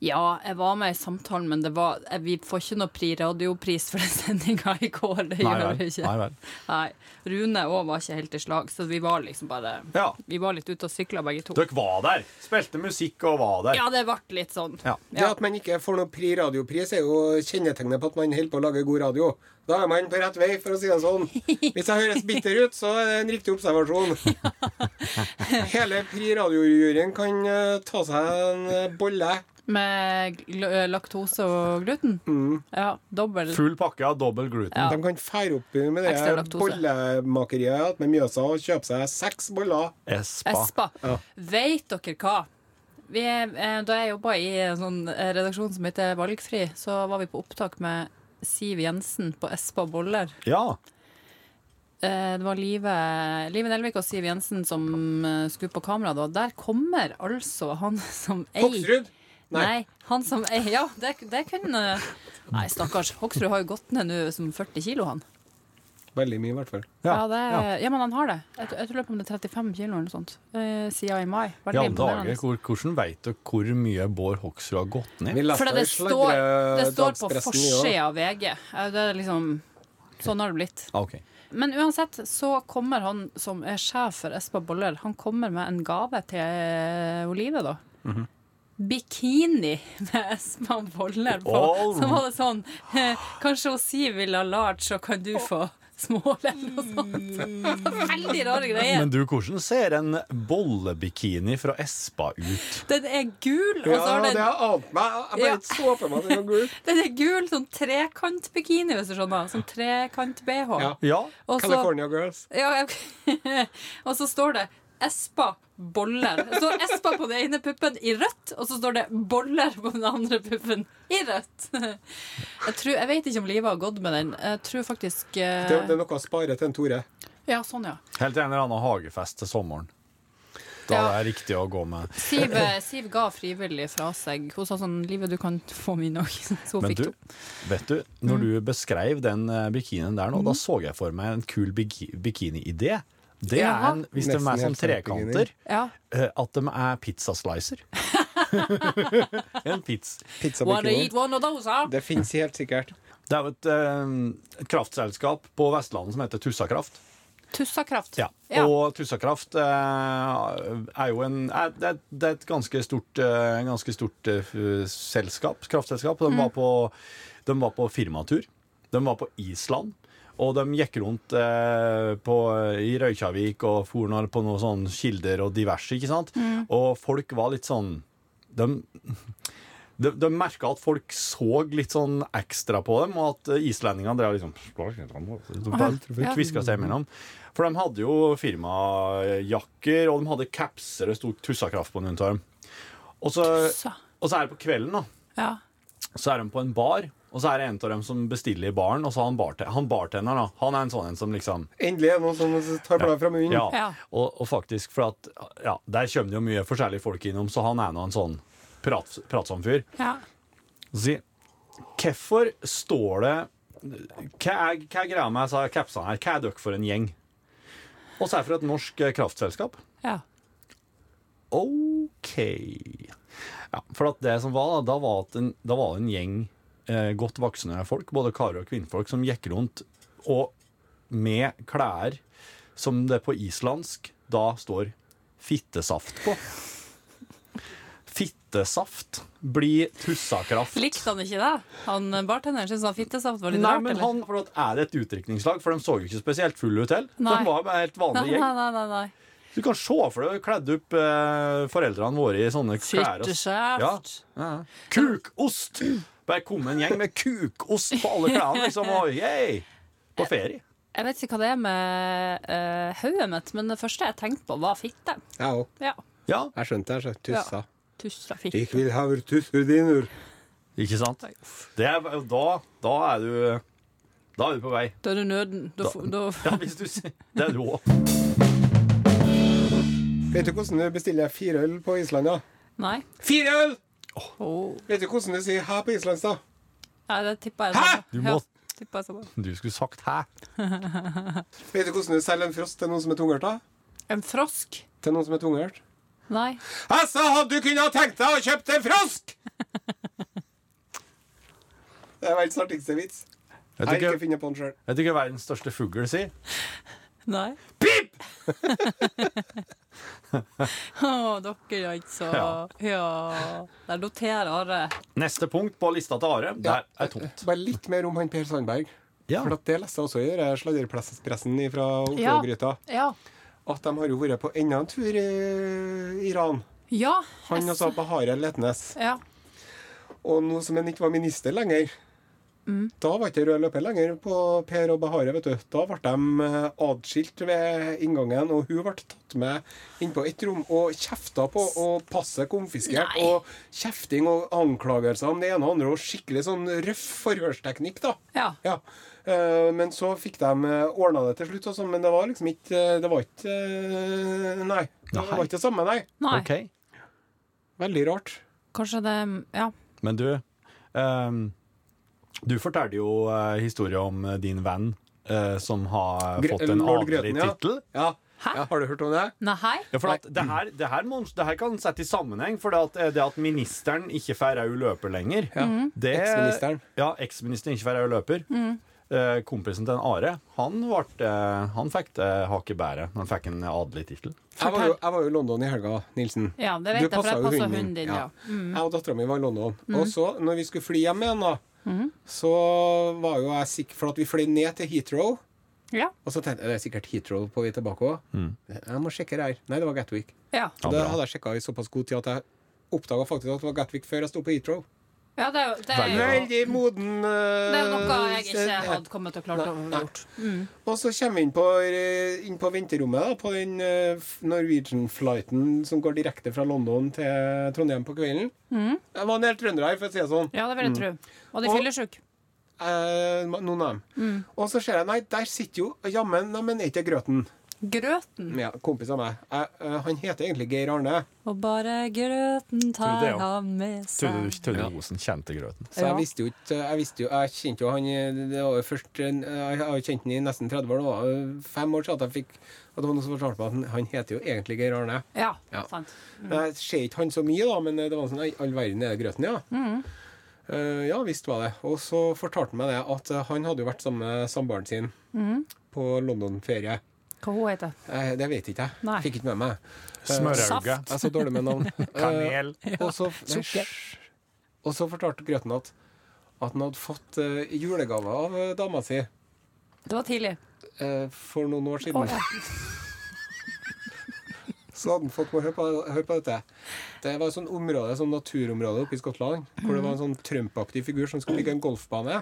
S3: Ja, jeg var med i samtalen, men det var, eh, vi får ikke noe pri radiopris for den sendinga i går. Det
S4: Nei
S3: gjør
S4: vel,
S3: vi ikke.
S4: nei vel.
S3: Nei. Rune òg var ikke helt i slag, så vi var liksom bare
S4: Ja.
S3: Vi var litt ute og sykla begge to.
S4: Dere var der! Spilte musikk og var der.
S3: Ja, det ble litt sånn.
S4: Ja.
S2: Det at man ikke får noen pri radiopris, er jo kjennetegnet på at man holder på å lage god radio. Da er man på rett vei, for å si det sånn. Hvis jeg høres bitter ut, så er det en riktig observasjon. Hele pri radiojuryen kan eh, ta seg en eh, bolle.
S3: Med gl- ø, laktose og gluten? Ja, dobbel.
S4: Full pakke av dobbel gluten.
S3: Ja.
S2: De kan fære opp med det
S3: Ekstra laktose.
S2: bollemakeriet med Mjøsa og kjøpe seg seks boller.
S4: Espa.
S3: Espa.
S2: Ja.
S3: Veit dere hva? Vi, eh, da jeg jobba i en sånn eh, redaksjon som heter Valgfri, så var vi på opptak med Siv Jensen på Espa Boller.
S4: Ja.
S3: Eh, Det var Live, Live Nelvik og Siv Jensen som eh, skulle på kamera da. Der kommer altså han som ei
S2: Hoksrud?
S3: Nei. han som ei Ja, det, det kunne Nei, stakkars. Hoksrud har jo gått ned nå som 40 kilo, han.
S2: Veldig mye, i hvert fall.
S4: Ja.
S3: Ja, det,
S4: ja.
S3: ja. men han har det. Jeg, tror- jeg tror løpet om det er 35 kilo eller noe sånt. Eh, siden i mai.
S4: I
S3: Veldig
S4: alle dager,
S3: imponerende.
S4: hvor, hvordan veit dere hvor mye Bård Hoksrud har gått ned?
S2: Vi leste
S3: For det,
S2: jo
S3: det, står, det står på
S2: dagspressen i år.
S3: forsida av VG. Eh, Det er liksom Sånn har det blitt.
S4: Ah, ok.
S3: Men uansett så kommer han som er sjef for Espa Boller, han kommer med en gave til eh, Olive, da.
S4: Mhm.
S3: Bikini med Espa Boller på.
S4: Oh.
S3: Så var det sånn eh, Kanskje hun Siv vil ha large, så kan du få smålenn og sånt. Veldig rare greier.
S4: Men du, hvordan ser en bollebikini fra Espa ut?
S3: Den er gul, og
S2: Ja,
S3: så har
S2: det
S3: den
S2: har ant meg. Jeg bare
S3: Ja.
S2: ikke så for meg at det var gul.
S3: Den er gul, sånn trekant-bikini, hvis du skjønner. Sånn trekant-BH.
S2: Ja.
S4: Ja.
S3: Og så-
S2: California Girls.
S3: ja, ok. og så står det Espa Boller. Det står Espa på den ene puppen i rødt, og så står det Boller på den andre puppen i rødt. Jeg, tror, jeg vet ikke om Liva har gått med den. Jeg tror faktisk eh,
S2: Det, det er noe å spare til en Tore.
S3: Ja, sånn, ja.
S4: Helt til en eller annen hagefest til sommeren. Da
S3: Ja.
S4: er det riktig å gå med.
S3: Siv, eh, Siv ga frivillig fra seg. Hun sa sånn Livet, du kan få min òg. Så hun
S4: Men
S3: fikk
S4: du,
S3: to. Mm.
S4: vet du, når du beskrev den eh, bikinien der nå, da så jeg for meg en kul biki bikini-idé. Det er
S3: Ja.
S4: en, hvis de
S2: Nesten
S4: er sånn
S2: helt sant,
S4: trekanter,
S3: Ja.
S4: eh, at de er pizzaslicer. en pizza.
S3: Wanna
S2: Pizzabikini.
S3: eat one of those, huh?
S2: Det fins helt sikkert.
S4: Det er jo et, eh, et kraftselskap på Vestlandet som heter Tussakraft.
S3: Tussakraft.
S4: Ja.
S3: Ja.
S4: Og Tussakraft eh, er jo en er, det, er- det er et ganske stort, eh, ganske stort eh, f- selskap, kraftselskap. De, var på, de var på firmatur. De var på Island. Og de gikk rundt eh, på, i Røykjavik og for noe- på noen sånne kilder og diverse. ikke sant? Og folk var litt sånn De, de, de merka at folk så litt sånn ekstra på dem, og at eh, islendingene drev liksom
S3: Ja.
S4: Kviska seg imellom. For de hadde jo firmajakker, og de hadde capser. Det sto Tussakraft på noen av dem. Og så,
S3: Så.
S4: og så er det på kvelden, da.
S3: Ja.
S4: Så er de på en bar, og så er det en av dem som bestiller i baren. Og så har han, barte- han bartenderen, da. Han er en sånn en som liksom
S2: Endelig er det noen som tar bladet fra munnen.
S4: ja.
S3: Mm, Ja.
S4: Og, og faktisk, for at ja, der kommer det jo mye forskjellige folk innom, så han er nå en sånn prat, pratsom fyr.
S3: Ja.
S4: Så sier Hvorfor står det Hva er, hva er greia med disse capsene her? Hva er dere for en gjeng? Og så er det for et norsk eh, kraftselskap.
S3: ja.
S4: OK. Ja, for at det som var, da, da var at en, da var det en gjeng eh, godt voksne folk, både karer og kvinnfolk, som gikk rundt og med klær som det på islandsk da står fittesaft på. Fittesaft blir tussakraft.
S3: Likte han ikke det? Han eh, bartenderen syntes han fittesaft var litt
S4: Nei,
S3: rart,
S4: men
S3: eller?
S4: han, for at er det et utdrikningslag? For de så jo ikke spesielt fulle ut heller. De
S3: Nei.
S4: var bare helt
S3: Nei,
S4: vanlige
S3: nei,
S4: gjeng.
S3: nei, nei, nei.
S4: Du kan se for deg kledd opp eh, foreldrene våre i sånne klær. og- Ja.
S3: Fytteskjeft.
S4: Ja. Kukost! Bare kom en gjeng med kukost på alle klærne, liksom. Og, yay! På ferie.
S3: Jeg vet ikke hva det er med eh, hodet mitt, men det første jeg tenkte på, var fitte.
S2: Jeg òg.
S3: Ja.
S4: Ja,
S2: Jeg skjønte det. jeg skjønte. Tussa.
S3: Tussa fitte.
S2: Jeg vil ha tussurdinur.
S4: ikke sant? Det er, da, da er du Da er du på vei.
S3: Da er du nøden. Da, f- da,
S4: Ja, hvis du, s- det er du òg.
S2: Vet du hvordan du bestiller fire øl på Island, da?
S3: nei.
S2: Fire øl!
S3: Oh.
S2: Vet du hvordan du sier hæ på islandsk, da?
S3: Nei, det tippa jeg
S2: Hæ?
S3: sammen.
S4: Du må-
S3: Ja, tippa jeg sammen.
S4: Du skulle sagt hæ?
S2: Vet du hvordan du selger en frosk til noen som er tunghørt, da?
S3: En frosk?
S2: Til noen som er tunghørt?
S3: Nei.
S2: Jeg sa hadde du kunnet tenkt deg å kjøpe en frosk! Det er verdens artigste vits. Jeg
S4: Vet
S2: har
S4: du
S2: ikke
S4: ikke,
S2: funnet på den sjøl.
S4: vet du ikke hva verdens største fugl sier?
S3: Nei.
S2: Pip!
S3: Å, dere, altså. Ja. Der noterer Are.
S4: Neste punkt på lista til Are, der er tomt.
S2: Bare litt mer om han Per Sandberg.
S4: Ja.
S2: For at det leste jeg også i den sladrepressen fra
S3: Ja.
S2: Oslogryta.
S3: Ja.
S2: At de har jo vært på enda en tur i eh, Iran.
S3: Ja.
S2: Han altså Bahareh Letnes.
S3: ja.
S2: Og nå som han ikke var minister lenger,
S3: Mm.
S2: da var ikke det rød løper lenger på Per og Bahareh, vet du. Da ble de eh, atskilt ved inngangen, og hun ble tatt med inn på et rom og kjefta på, og passet konfiskert,
S3: Nei.
S2: og kjefting og anklagelser om det ene og andre, og skikkelig sånn røff forhørsteknikk, da.
S3: Ja.
S2: Ja. Eh, Men så fikk de ordna det til slutt, altså, men det var liksom ikke Det var ikke eh, Nei. Det
S4: Nei.
S2: var ikke det samme, nei.
S3: Nei.
S4: Ok.
S2: Veldig rart.
S3: Kanskje det Ja.
S4: Men du, ehm, du fortalte jo uh, historie om eh, din venn eh, som har
S2: Gre-
S4: fått en
S2: Lord
S4: adelig
S2: Greten, ja.
S4: tittel.
S2: Ja.
S3: Hæ?
S2: ja. Har du hørt om det?
S3: Nei, hei.
S4: Ja, for at det, her, det, her må, det her kan sette i sammenheng, for det at, eh, det at ministeren ikke får rød løper lenger
S2: Ja.
S4: det-
S2: Eksministeren.
S4: Ja, eksministeren ikke får rød løper. Eh, kompisen til en Are, han, vart, eh, han fikk det hakket bæret når han fikk en adelig tittel.
S2: Jeg var, jo, jeg var jo i London i helga, Nilsen.
S3: Ja, det vet jeg, for jeg passet hunden din, ja. Mm.
S2: Jeg og dattera mi var i London. Og så, når vi
S3: Mm.
S2: skulle fly hjem igjen, da, så var jo jeg sikker For at vi fløy ned til Heathrow,
S3: Ja.
S2: Og så tenkte jeg det er sikkert Heathrow på vei tilbake òg. Jeg må sjekke det her. Nei, det var Gatwick.
S3: Ja.
S4: Mm. Ja,
S2: det
S4: bra.
S2: hadde jeg sjekka i såpass god tid at jeg oppdaga faktisk at det var Gatwick før jeg sto på Heathrow.
S3: ja, det er jo det er jo,
S2: Veldig moden eh,
S3: det er jo noe jeg ikke
S2: sted.
S3: hadde kommet til å klare å
S2: Nei.
S3: gjort.
S2: Og så kommer vi inn på, eh, inn på vinterrommet, da, på den eh, f- Norwegian-flighten som går direkte fra London til Trondheim på kvelden. Jeg var en del trøndere her, for å si det sånn.
S3: Ja, det vil jeg tro. Og de
S2: Og-
S3: fyllesyke.
S2: Eh, noen av dem. Og så ser jeg, nei, der sitter jo jammen Nei, men er ikke det Grøten?
S3: Grøten.
S2: Ja, kompis av meg. Jeg, eh, han heter egentlig Geir Arne.
S3: Og bare grøten
S4: Tror det, ja.
S3: tar han med
S4: Trude,
S3: seg.
S4: Trude Osen kjente grøten.
S2: Så jeg
S3: Ja.
S2: visste jo ikke Jeg, visste jo, jeg kjente jo han eh, Det var jo først en- Jeg har jo kjent han i nesten 30 år. Det var jo fem år siden at jeg fikk At det var noen som fortalte meg at han, han heter jo egentlig Geir Arne.
S3: Ja,
S2: Ja.
S3: sant.
S2: Jeg ser ikke han så mye, da, men det var sånn «Nei, all verden er det grøten, ja.
S3: Mm.
S2: Eh, ja visst var det. Og så fortalte han meg det at eh, han hadde jo vært sammen med samboeren sin
S3: Mm.
S2: på London-ferie.
S3: Hva hun heter hun?
S2: Eh, det vet ikke jeg.
S3: Nei.
S2: Fikk ikke med meg.
S4: Smørauge.
S2: Jeg er så dårlig med navn.
S4: Kanel.
S2: Eh, og, så, og så fortalte Grøten at, at han hadde fått eh, julegave av eh, dama si
S3: Det var tidlig.
S2: eh, for noen år
S3: Å,
S2: siden.
S3: ja.
S2: Så hadde han fått Sånn, høre på, hør på dette. Det var et sånt område, sånn naturområde oppe i Skottland hvor det var en sånn Trump-aktig figur som skulle bygge en golfbane.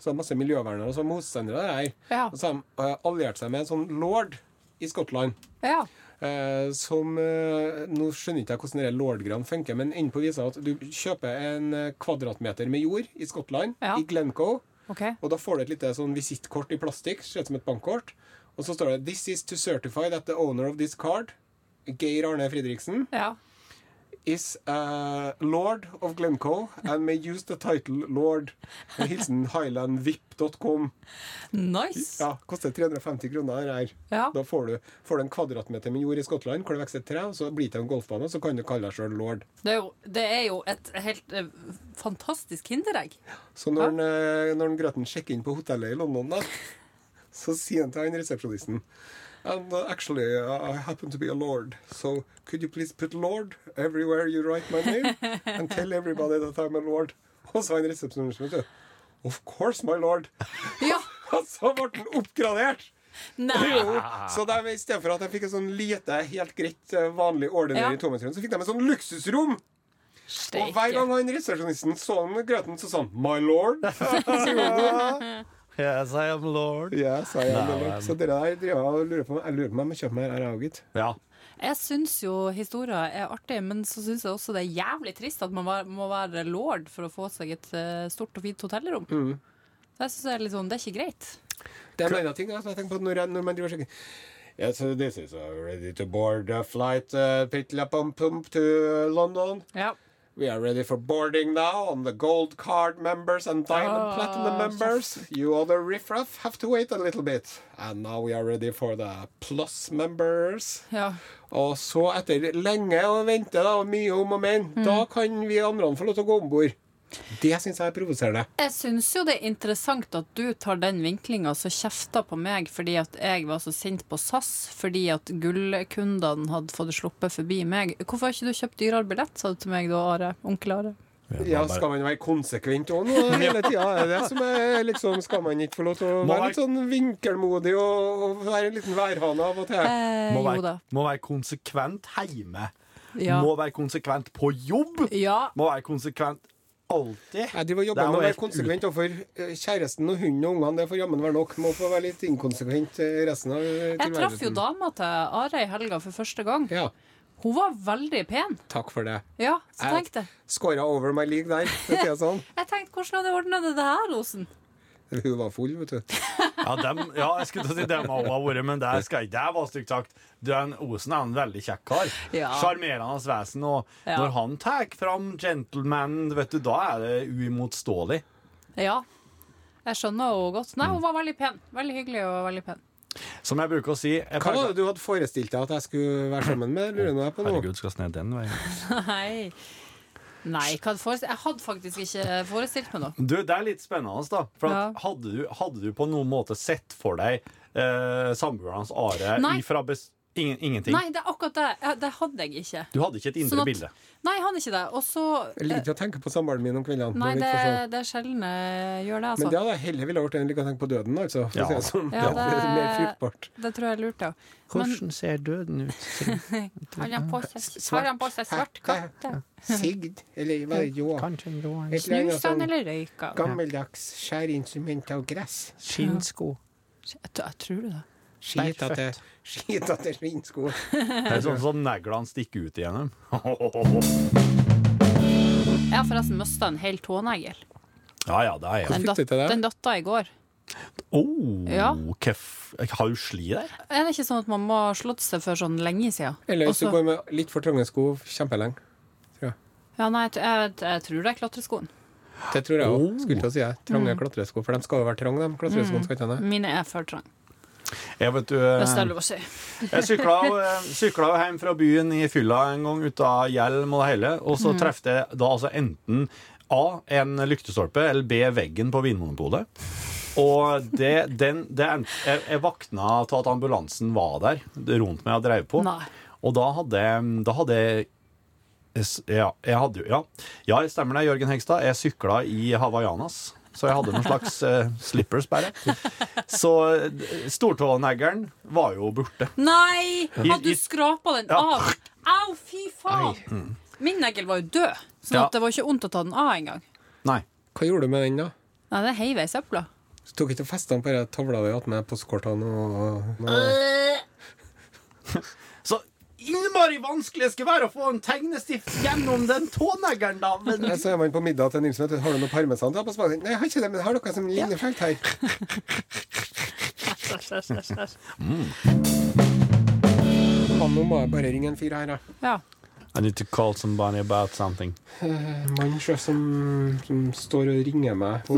S2: Så det var masse miljøvernere og så motstandere der.
S3: Mm. Ja.
S2: Og så har de eh, alliert seg med en sånn lord i Skottland.
S3: ja.
S2: Eh, som eh, Nå skjønner ikke jeg hvordan dere lordgran funker, men innpå viser at du kjøper en eh, kvadratmeter med jord i Skottland,
S3: Ja.
S2: i Glencoe,
S3: OK.
S2: og da får du et lite sånn visittkort i plastikk, ser ut som et bankkort, og så står det 'This is to certify that the owner of this card'. Geir Arne Fredriksen
S3: Ja.
S2: is eh, lord of Glencoe and may use the title lord. Med Hilsen highlandvip.com.
S3: Nice.
S2: Ja, koster 350 kroner det her.
S3: Ja.
S2: Da får du, får du en kvadratmeter med jord i Skottland, hvor det vokser et tre, og så blir det til en golfbane, og så kan du kalle deg sjøl lord.
S3: Det er jo, det er jo et helt eh, fantastisk kinderegg.
S2: Så når, han, eh, når han Grøten sjekker inn på hotellet i London, da, så sier han til han resepsjonisten And uh, actually, I happen to be a lord, so could you please put lord everywhere you write my name? And tell everybody that I'm a lord. Og så han resepsjonisten, vet du. Of course, my lord.
S3: Ja.
S2: Og så ble han oppgradert.
S3: Nei.
S2: Jo, så de, i stedet for at de fikk et sånn lite, helt greit, eh, vanlig ordinær
S3: Ja.
S2: tomannsrom, så fikk de et sånn luksusrom. Og hver gang han resepsjonisten så han grøten, så sa han 'My lord'.
S4: Yes, I am lord.
S2: yes, I am the
S4: Nei,
S2: lord. Så dere der driver jeg og lurer på Jeg lurer på om jeg må kjøpe meg her, jeg òg, gitt.
S4: Ja.
S3: Jeg syns jo historier er artig, men så syns jeg også det er jævlig trist at man var- må være lord for å få seg et eh, stort og fint hotellrom.
S4: Mm.
S3: Så jeg synes det er litt sånn, det er ikke greit.
S2: Det er en annen ting da, som jeg tenker på når, jeg, når man driver og sjekker. Yes, uh, this is uh, ready to board a flight uh, pitlapum-pum to London.
S3: Ja.
S2: We are ready for boarding now on the gold card members and diamond
S3: Ah,
S2: platinum members. You other riffraff have to wait a little bit. And now we are ready for the plus members.
S3: ja.
S2: Og så, etter lenge å vente da, og mye om og men, da kan vi andre få lov til å gå om bord. Det syns jeg er provoserende.
S3: Jeg syns jo det er interessant at du tar den vinklinga og kjefter på meg fordi at jeg var så sint på SAS fordi at gullkundene hadde fått sluppet forbi meg. Hvorfor har ikke du kjøpt dyrere billett, sa du til meg da, Are? Onkel Are.
S2: Ja, Skal man være konsekvent òg nå hele tida? Er det som er liksom Skal man ikke få lov til å
S4: Må
S2: være litt
S4: være-
S2: sånn vinkelmodig og, og være en liten værhane av og til?
S3: Eh,
S4: Må
S3: jo
S4: være,
S3: da.
S4: må være konsekvent hjemme.
S3: Ja.
S4: Må være konsekvent på jobb.
S3: ja.
S4: Må være konsekvent alltid.
S2: Jeg driver og
S4: Det
S2: jobber
S4: er
S2: med
S4: jo
S2: å være
S4: helt
S2: konsekvent overfor eh, kjæresten og hunden og ungene. Det får jammen være nok. Må få være litt inkonsekvent eh, resten av eh,
S3: Jeg
S2: tilværelsen.
S4: sånn.
S3: traff jo dama til Are i helga for første gang.
S2: Ja,
S3: Hun var veldig pen.
S2: takk for det.
S3: Ja, så
S2: Jeg-
S3: tenkte jeg.
S2: Skåra over my league der, for å si det sånn.
S3: Jeg tenkte, hvordan hadde jeg ordna det her, Osen?
S2: Hun var full, vet du.
S4: Ja, dem, ja jeg skulle til å si dem har også vært, men det skal ikke jeg være stygt sagt. Den Osen er en veldig kjekk kar.
S3: Ja.
S4: Sjarmerende vesen. Og
S3: Ja.
S4: når han tar fram gentlemanen, vet du, da er det uimotståelig.
S3: Ja. Jeg skjønner henne godt. Nei, hun var veldig pen. Veldig hyggelig og veldig pen.
S4: Som jeg bruker å si jeg
S2: Hva var det du hadde forestilt deg at jeg skulle være sammen med? Lurer nå jeg på nå.
S4: Herregud, skal vi ned den veien?
S3: Nei. Nei, hva hadde forestilt? jeg hadde faktisk ikke forestilt meg noe.
S4: Du, Det er litt spennende. da For at
S3: Ja.
S4: hadde, du, hadde du på noen måte sett for deg eh, samboeren hans Are
S3: Nei.
S4: ifra bes Ingen, ingenting.
S3: Nei, det er akkurat det. Jeg- Det hadde jeg ikke.
S4: Du hadde ikke et indre
S3: Sånn at-
S4: bilde.
S3: Nei, jeg hadde ikke det. Og så
S2: Jeg liker å tenke på samboeren min om kveldene.
S3: Nei,
S2: når vi
S3: det,
S2: ikke får sove.
S3: det er sjelden jeg gjør det, altså.
S2: Men det hadde jeg heller ville gjort enn like å tenke på døden, altså. For
S4: Ja.
S2: å si det sånn.
S3: Ja,
S2: det er mer
S3: det-
S2: fruktbart.
S3: Det tror jeg er lurt, ja. Men
S4: ser døden ut?
S3: har han på seg, har han på seg svart katte?
S2: Sigd, eller hva er det, jo?
S4: Kanskje en blå
S2: Et eller annet
S3: Snuser han
S2: sånn
S3: eller røyker han?
S2: Gammeldags skjæreinstrument av gress.
S4: skinnsko.
S3: Jeg t- jeg tror det.
S2: Skitete skitete skinnsko.
S4: Det er sånn som neglene stikker ut igjennom.
S3: Jeg har forresten mista en hel tånegl.
S4: Ja ja, det er jeg.
S3: Den,
S2: fikk du
S3: dat
S2: til det?
S3: den datta i går.
S4: Oh,
S3: Ja.
S4: kef- Har du sli der?
S3: Er det ikke sånn at man må ha slått seg for sånn lenge siden?
S2: Eller hvis
S3: Også-
S2: du går med litt for trange sko kjempelenge.
S3: Ja, nei, jeg, t- jeg, jeg tror det er klatreskoen.
S2: Det tror jeg
S4: Oh.
S2: òg. Skulle til å si det. Trange
S3: Mm.
S2: klatresko. For de skal jo være trange, de klatreskoene. Skal ikke de det?
S3: Mine er for trang,
S4: Jeg vet du
S3: hvis det er
S4: eh,
S3: lov å si.
S4: Jeg sykla jo, eh, sykla jo hjem fra byen i fylla en gang uten hjelm og det hele, og så traff jeg da altså enten A. En lyktestolpe, eller B. Veggen på Vinmonopolet. Og det, den, det en- jeg, jeg vakna til at ambulansen var der rundt meg og drev på.
S3: Nei.
S4: Og da hadde, jeg- da hadde jeg ja, jeg hadde jo, ja. ja, stemmer det, Jørgen Hegstad. Jeg sykla i hawaiianas. Så jeg hadde noen slags eh, slippers, bare. Så eh, stortåneglen var jo borte.
S3: Nei! Hadde
S4: I-
S3: du skrapa den
S4: Ja.
S3: av? Au, fy faen! Min negl var jo død, sånn
S4: Ja.
S3: at det var ikke vondt å ta den av engang.
S4: Nei.
S2: Hva gjorde du med den, da?
S3: Nei, det heiv jeg i søpla.
S2: Så tok ikke festene på de tavla vi hadde med postkortene og, og
S4: Så innmari vanskelig det skal være å få en tegnestift gjennom den tåneglen, da. Men
S2: Nei, Så er man på middag til Nilsen og sier Har du noe parmesan til på smaken? Nei, jeg har ikke det, men har dere som ligner fælt her? Ja, nå må jeg bare ringe en fyr her, da.
S3: Ja.
S4: I need to call somebody about something.
S2: En mann sjø som, som står og ringer meg på,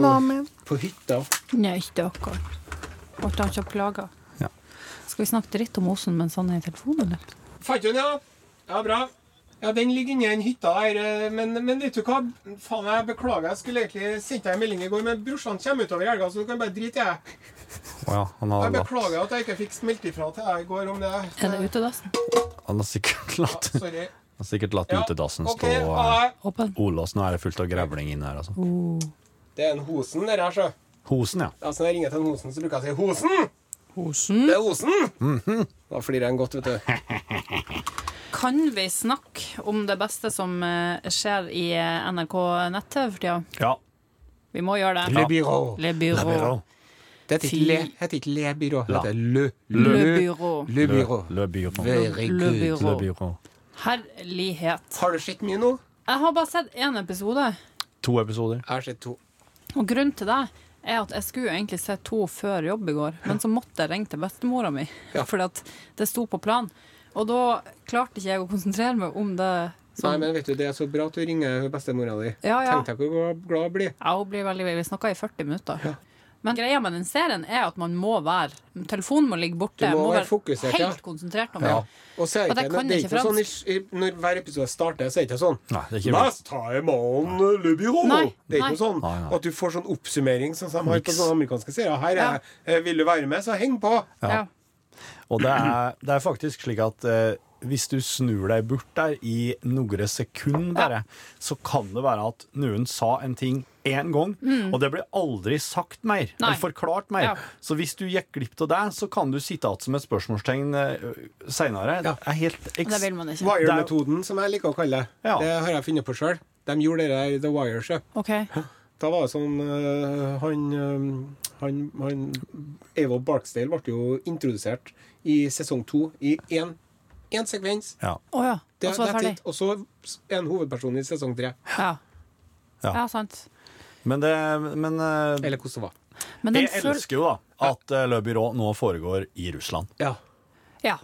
S2: på hytta.
S3: Nei, ikke akkurat. Ble han ikke plaga?
S4: Ja.
S3: Skal vi snakke dritt om Osen mens han er i telefonen, eller?
S2: Fant du den, ja? Ja, bra. Ja, den ligger inni den hytta her, eh, men, men vet du hva? Faen, jeg beklager, jeg skulle egentlig sendt deg en melding i går, men brorsan kommer utover i helga, så du kan bare drite i det.
S4: Å ja, han har,
S2: Jeg
S4: latt,
S2: beklager at jeg ikke fikk smelt ifra til deg i går om det.
S3: Er det utedassen?
S4: han har sikkert latt, han
S2: Sorry.
S4: har sikkert latt
S2: Ja,
S4: utedassen
S2: ok,
S4: stå.
S2: ha
S4: eh,
S2: det.
S3: Åpen?
S4: Olåsen, nå er det fullt av grevling inne her, altså.
S2: Det er en Hosen, det her, sjø.
S4: Hosen, ja.
S2: Altså, når jeg ringer til en Hosen, så bruker jeg å si 'Hosen'!
S3: Osen?
S2: Det er Hosen! Da flirer han godt, vet du.
S3: Kan vi snakke om det beste som eh, skjer i eh, NRK nett-TV for tida?
S4: Ja.
S3: Vi må gjøre det.
S4: Le
S2: Byrå.
S3: Le Bureau.
S2: Det heter ikke
S3: Fy.
S2: Le, heter ikke le Byrå. Det
S4: La.
S2: heter Le
S3: Le
S2: Le,
S3: Bureau.
S2: le Byrå.
S4: Le Bureau.
S2: Very
S3: Le
S2: good.
S3: Bureau.
S4: Le Bureau.
S3: Herlighet.
S2: Har du sett mye nå?
S3: Jeg har bare sett én episode,
S4: To episoder.
S2: Jeg har sett to.
S3: og grunnen til det er at jeg skulle jo egentlig se to før jobb i går, men så måtte jeg ringe til bestemora mi,
S2: Ja.
S3: fordi at det sto på planen. Og da klarte ikke jeg å konsentrere meg om det.
S2: Nei,
S3: Som,
S2: men vet du, det er så bra at du ringer bestemora di.
S3: Sånn. Ja, ja.
S2: Tenk deg hvor glad hun blir.
S3: ja, hun blir veldig Vi snakka i 40 minutter. Men greia med den serien er at man må være Telefonen må ligge borte.
S2: Du må være
S3: være
S2: fokusert, ja.
S3: helt konsentrert om det.
S4: Ja.
S2: Og så er
S3: Og
S2: ikke,
S3: det kan
S2: det er
S3: ikke
S2: ikke sånn i, i, Når hver episode starter, så er det ikke sånn
S4: Nei, det er ikke
S2: Last time on Le Bureau.
S3: Nei,
S2: eh, det er ikke
S3: nei.
S2: noe sånn
S4: Nei, nei.
S2: at du får sånn oppsummering som de har på
S4: Niks.
S2: sånne amerikanske serier. Her
S3: Ja.
S2: er eh, Vil du være med, så heng på.
S3: Ja.
S4: Og det er, det er faktisk slik at eh, hvis du snur deg bort der i noen sekunder bare, så kan det være at noen sa en ting én gang, og det blir aldri sagt mer.
S3: Mm. Nei.
S4: Eller forklart mer.
S3: Ja.
S4: Så hvis du gikk glipp av det, så kan du sitte igjen som et spørsmålstegn uh, seinere.
S2: Ja.
S4: Det er helt
S3: Og det
S4: eks...
S3: vil man ikke.
S2: Wire-metoden, som jeg liker å kalle det.
S4: Ja.
S2: Det har jeg funnet på sjøl. De gjorde det der i The Wire. sjø.
S3: OK.
S2: Da var det sånn øh, han, øh, han, han Eivor Barksdale ble jo introdusert i sesong to i én én sekvens.
S4: Ja.
S3: Å ja.
S2: Det-
S3: Og så var det
S2: that's
S3: ferdig.
S2: it. Og så er han hovedperson i sesong tre.
S3: Ja.
S4: Ja.
S3: ja, sant.
S4: Men, det, men eh,
S2: Eller hvordan det var.
S3: Men den
S4: jeg
S3: føl-
S4: elsker jo da at uh, Le Byrå nå foregår i Russland.
S2: Ja.
S3: Ja.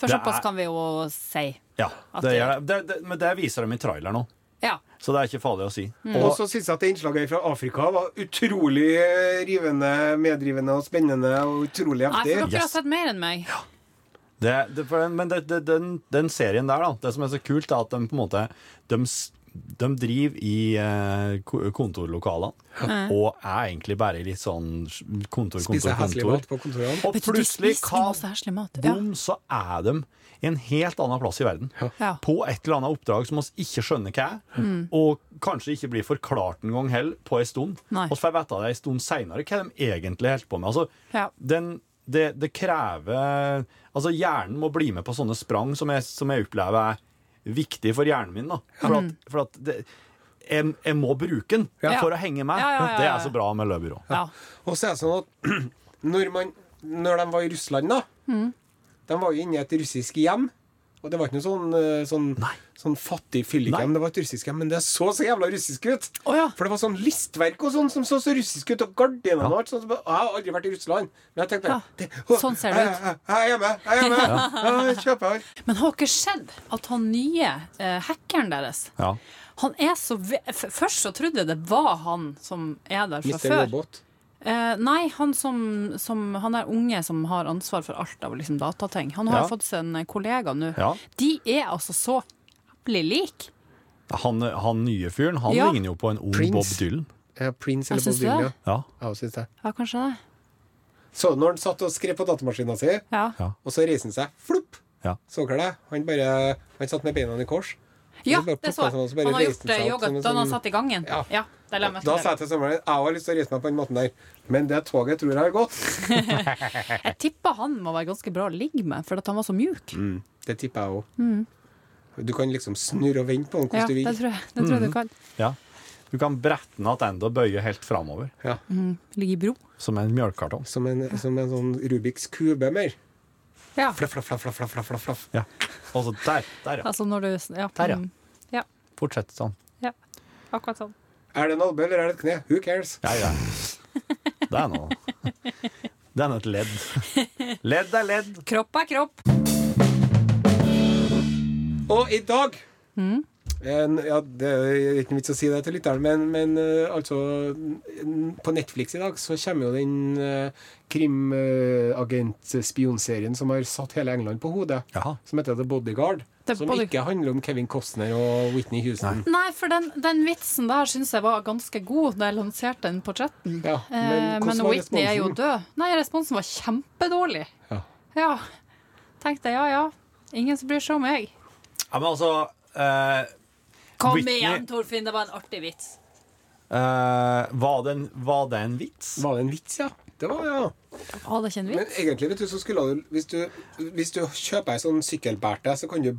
S3: For
S4: Det
S3: såpass
S4: er-
S3: kan vi jo si.
S4: Ja,
S3: At
S4: det
S3: det-
S4: gjør det. Det, det, men det viser de i traileren nå,
S3: Ja.
S4: så det er ikke farlig å si.
S3: Mm.
S2: Og så syns jeg at det innslaget fra Afrika var utrolig øh, rivende, medrivende og spennende og utrolig
S3: Nei, for
S2: heftig.
S3: dere har
S4: Yes.
S3: sett mer enn meg.
S4: Det, det, for den, men det, det, den, den serien der, da, det som er så kult, er at de på en måte de s- de driver i eh, ko- kontorlokalene og er egentlig bare litt sånn kontor, kontor,
S2: Spiser heslig
S4: kontor.
S2: mat på kontorene.
S4: Og
S3: Vet du, de
S4: plutselig,
S3: spiser
S4: hva
S3: masse herselig mat. Ja.
S4: bom, så er de en helt annen plass i verden.
S3: Ja. Mm.
S4: På et eller annet oppdrag som oss ikke skjønner hva er, og kanskje ikke blir forklart en gang heller på en stund.
S3: Nei.
S4: Og så får jeg vite det en stund seinere hva de egentlig holder på med. Altså,
S3: Ja.
S4: den, det, det krever Altså, hjernen må bli med på sånne sprang som jeg, som jeg opplever er viktig for hjernen min. Da. For at, for at det, jeg, jeg må bruke den
S3: Mm. Ja.
S4: for å henge med.
S3: Ja, ja, ja, ja,
S4: Det
S3: ja.
S4: er så bra med løpebyrå.
S3: Ja.
S2: Og så er det sånn at når, man, når de var i Russland, da De var jo inne i et russisk hjem. Og det var ikke noe sånn, eh, sånn,
S4: Nei.
S2: sånn fattig fyllikhjem,
S4: Nei.
S2: det var et russisk hjem, men det så så jævla russisk ut!
S3: Å ja.
S2: For det var sånn listverk og sånn som så så russisk ut, og gardinene og alt sånt. som- Jeg har aldri vært i Russland, men jeg tenkte
S3: Ja.
S2: det, å,
S3: Sånn ser det
S2: Jeg,
S3: ut.
S2: jeg, jeg er hjemme! Jeg er hjemme! Jeg kjøper her.
S3: Men har dere sett at han nye eh, hackeren deres
S4: Ja.
S3: Han er så ve f Først så trodde jeg det var han som er der fra
S2: Mr.
S3: før.
S2: Robot.
S3: Eh, nei, han som, som Han er unge som har ansvar for alt av liksom, datating. Han har
S4: Ja.
S3: fått seg en eh, kollega nå.
S4: Ja.
S3: De er altså så jævlig like.
S4: Han, han nye fyren han
S3: Ja.
S4: ligner jo på en ung
S2: Prince.
S4: Bob Dylan.
S2: Ja, Prince
S3: Jeg
S2: eller Bob
S3: syns det.
S2: Dylan. Ja,
S4: Ja.
S2: Ja, jeg syns det.
S3: Ja, kanskje det.
S2: Så når han satt og skrev på datamaskina si,
S3: Ja.
S4: Ja.
S2: og så reiser han seg, flopp!
S4: Ja.
S2: Så dere det? Han bare Han satt med beina i kors.
S3: ja,
S2: Så bare plukket
S3: det så
S2: han, og
S3: jeg.
S2: så bare
S3: Han har
S2: reiste
S3: gjort det
S2: seg
S3: i
S2: opp
S3: yoga
S2: som en
S3: da han
S2: sånn-
S3: satt i gangen.
S2: Ja.
S3: Ja, det la jeg
S2: Da
S3: merke
S2: sa
S3: til.
S2: jeg til samboeren min jeg har lyst til å reise meg på den måten der, men det toget tror jeg har gått.
S3: Jeg tipper han må være ganske bra å ligge med, for at han var så mjuk.
S2: Det tipper jeg òg. Du kan liksom snurre og vende på den
S3: Mm. Ja,
S2: hvordan du
S3: det
S2: vil.
S3: tror jeg, det tror jeg
S4: Mm.
S3: du kan.
S4: Ja. Du kan brette den tilbake og bøye helt framover,
S2: Ja.
S3: Ligge i bro.
S4: som en mjølkekartong.
S2: Som, en, som en sånn Rubiks kube mer.
S3: Ja.
S2: Flaff, flaff, flaff, flaff, flaff, flaff, flaff, flaff.
S4: Ja. Og så der, der, ja.
S3: Altså når du Ja.
S4: Der, ja.
S3: mm, ja.
S4: Fortsett sånn.
S3: ja. Akkurat sånn.
S2: Er det en albue eller er det et kne? Who cares?
S4: Ja, ja. Det er noe. Det er nå et ledd. Ledd er ledd.
S3: Kropp er kropp.
S2: Og i dag
S3: Mm.
S2: en, ja, Det er ikke noe vits å si det til lytteren, men, men eh, altså n- På Netflix i dag så kommer jo den uh, krimagentspionserien som har satt hele England på hodet,
S4: Jaha.
S2: som heter The Bodyguard.
S3: The
S2: som
S3: Bodyguard.
S2: ikke handler om Kevin Costner og Whitney Houston.
S3: Nei, for den, den vitsen der syns jeg var ganske god da jeg lanserte den på chatten.
S2: Ja, men
S3: eh,
S2: hvordan
S3: men
S2: var
S3: Whitney er jo
S2: responsen?
S3: død. Nei, responsen var kjempedårlig.
S2: Ja.
S3: Ja. Tenkte jeg, ja ja. Ingen som bryr seg om meg.
S4: Ja, men altså eh,
S3: Kom
S4: Whitney-
S3: igjen, Torfinn, det var en artig vits.
S4: eh, var, det en, var det en vits?
S2: Var det en vits, ja? Det var ja.
S3: Var det ikke en
S2: Men
S3: vits?
S2: egentlig, vet du, så skulle du Hvis du, hvis du kjøper ei sånn sykkelbærte, så kan du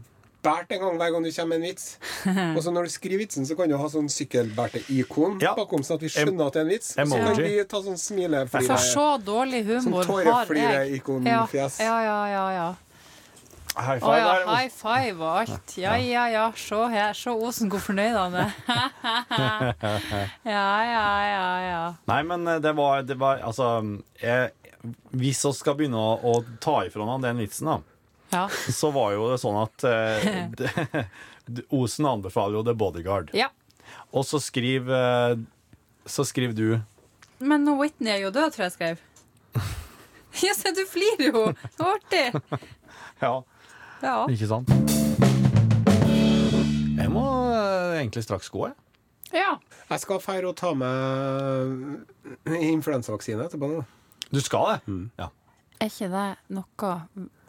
S2: bært en gang hver gang du kommer med en vits. Og så når du skriver vitsen, så kan du ha sånn sykkelbærte-ikon
S4: Ja.
S2: bakom, sånn at vi skjønner at det er en vits. Og så kan
S4: Emoji.
S2: vi ta sånn smileflire
S3: For så dårlig humor
S2: Som
S3: har jeg.
S2: tåreflire-ikonfjes.
S3: Ja, ja, ja. ja, ja.
S4: High
S3: Å
S4: five
S3: ja,
S4: der.
S3: high five og alt. Ja, ja, ja. Se her. Se Osen hvor fornøyd han er. Ja, ja, ja, ja.
S4: Nei, men eh, det var, det var Altså, eh, hvis vi skal begynne å, å ta ifra han den vitsen, da.
S3: Ja.
S4: så var jo det sånn at eh, d- d- Osen anbefaler jo The Bodyguard.
S3: ja.
S4: Og så skriver eh, så skriver du
S3: Men nå Whitney er jo død, tror jeg jeg skrev. Ja, se, du flirer jo! Så artig!
S4: Ja,
S3: Ja.
S4: ikke sant? Jeg må eh, egentlig straks gå, jeg.
S3: ja.
S2: Jeg skal feire og ta med influensavaksine etterpå. nå.
S4: Du skal det? Mm. Ja.
S3: Er ikke det noe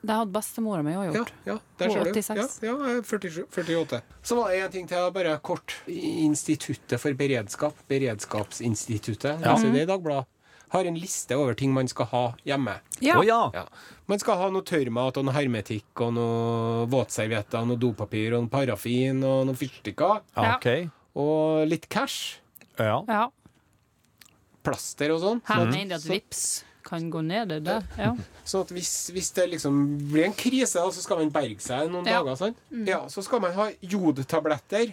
S3: Det hadde bestemora mi òg
S2: Ja,
S3: gjort.
S2: ja, der ser du.
S3: 86.
S2: Ja, ja, jeg er 47, 48. Så var det en ting til, bare kort. Instituttet for beredskap, Beredskapsinstituttet,
S4: Ja.
S2: leser det i Dagbladet, har en liste over ting man skal ha hjemme.
S3: Ja.
S4: Å ja!
S2: Ja. Man skal ha noe tørrmat og noe hermetikk og noe våtservietter, noe dopapir og noe parafin og noe fyrstikker.
S4: Ja, OK.
S2: Og litt cash.
S4: Ja.
S3: ja.
S2: Plaster og sånn.
S3: Her
S2: Sånn at-
S3: mener de at vips kan gå ned, Mm. det der. Ja.
S2: Sånn at hvis, hvis det liksom blir en krise, da, så skal man berge seg noen
S3: Ja.
S2: dager. Sant? Ja, så skal man ha jodtabletter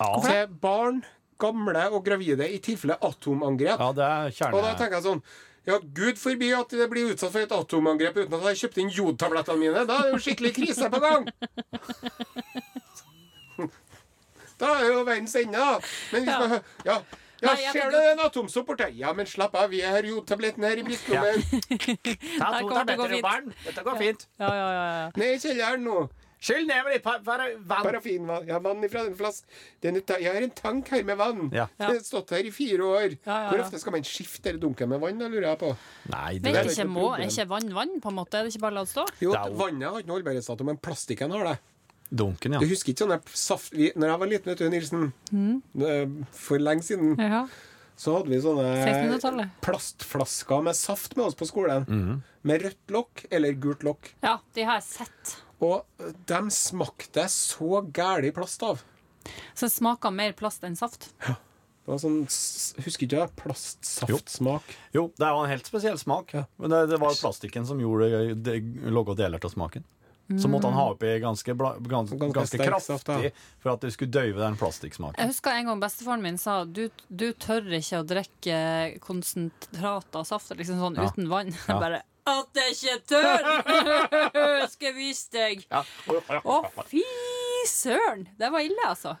S4: Ja.
S2: til barn, gamle og gravide i tilfelle atomangrep.
S4: ja, det er
S2: Og da
S4: kjerne...
S2: tenker jeg sånn Ja, gud forby at det blir utsatt for et atomangrep uten at jeg har kjøpt inn jodtablettene mine. Da er det jo skikkelig krise på gang! Da er jo verdens ende, da. Men hvis
S3: Ja.
S2: man hø- Ja. Ja,
S3: Nei, jeg
S2: ser
S3: tenker-
S2: du en atomsopport her? Ja, men slapp av, vi har jodtabletten her i brystlommen.
S4: Ta
S3: Her kommer det til å gå fint.
S4: barn. Dette går fint.
S3: Ja, ja, ja, ja.
S2: Ned i kjelleren nå.
S4: Skyll ned med litt par, par, vann.
S2: Parafinvann. Ja, vann ifra den flass. Den er ta- jeg har en tank her med vann.
S4: Ja.
S2: Den har stått her i fire år.
S3: Ja, ja,
S2: Hvor
S3: ja.
S2: ofte skal man skifte eller dunke med vann, da, lurer jeg på.
S4: Nei,
S3: Men
S4: det
S3: er
S2: er
S3: ikke,
S2: ikke
S3: må,
S2: problem.
S3: er ikke vann vann, på en måte? Er det ikke bare å la det stå?
S2: Jo,
S4: Det er jo-
S2: vannet har ikke noe holdbarhetsdato, men plastikken har det. Du
S4: Dunken, ja.
S2: husker ikke sånn der saft... Vi, når jeg var liten, vet du, Nilsen, eh, for lenge siden,
S3: Ja.
S2: så hadde vi sånne
S3: 1600-tallet.
S2: plastflasker med saft med oss på skolen. Med rødt lokk eller gult lokk.
S3: ja, de har jeg sett.
S2: Og eh, dem smakte så gæli plast av.
S3: Så det smaker mer plast enn saft.
S2: Det var sånn, s- Husker ikke du plastsaftsmak?
S4: Jo, det var en helt spesiell smak. Men det, det var plastikken som gjorde det, lå og deler av smaken. Så måtte han ha oppi ganske, bla- gans,
S2: Ganske
S4: ganske,
S2: sterk saft, ja.
S4: kraftig for at det skulle døyve den plastikksmaken.
S3: Jeg husker en gang bestefaren min sa du, du tør ikke å drikke konsentrat av saft liksom sånn
S4: Ja.
S3: uten vann. Jeg
S4: Ja.
S3: bare At jeg ikke tør! Skal jeg vise deg!
S4: Ja.
S3: Å, fy søren! Det var ille, altså.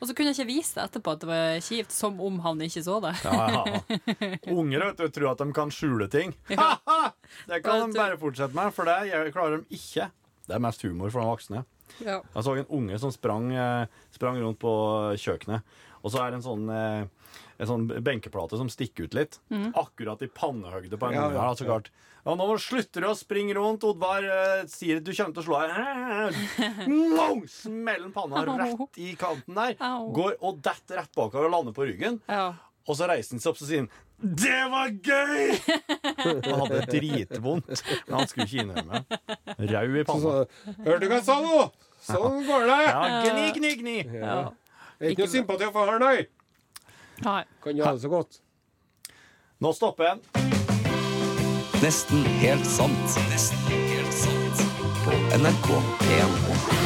S3: Og så kunne jeg ikke vise det etterpå at det var kjipt, som om han ikke så det.
S4: Ja, ja. Unger vet du, tror at de kan skjule ting. det kan de bare fortsette med, for det gjør- klarer de ikke. Det er mest humor for de voksne.
S3: Ja.
S4: Jeg så en unge som sprang, eh, sprang rundt på kjøkkenet, og så er det en sånn eh, en sånn benkeplate som stikker ut litt. Akkurat i pannehøgde på en
S2: Mm. Ja,
S4: unge. her,
S2: ja,
S4: altså klart. Ja, nå slutter du å springe rundt. Oddvar eh, sier du kommer til å slå deg. Mong! Smeller panna rett i kanten der.
S3: Au.
S4: Går og detter rett bakover og lander på ryggen.
S3: Ja.
S4: Og så reiser han seg opp og sier han, Det var gøy! Han hadde dritvondt, men han skulle ikke innrømme det. Rau i
S2: Så,
S4: panna.
S2: Hørte du hva jeg sa nå? Sånn går det.
S4: Ja, gni, gni, gni.
S3: Ja.
S2: Det er ikke noe sympati for her, nei.
S3: Nei.
S2: Kan jo ha det så godt.
S4: Nå stopper jeg.
S5: Nesten helt sant. Nesten helt sant. På NRK 1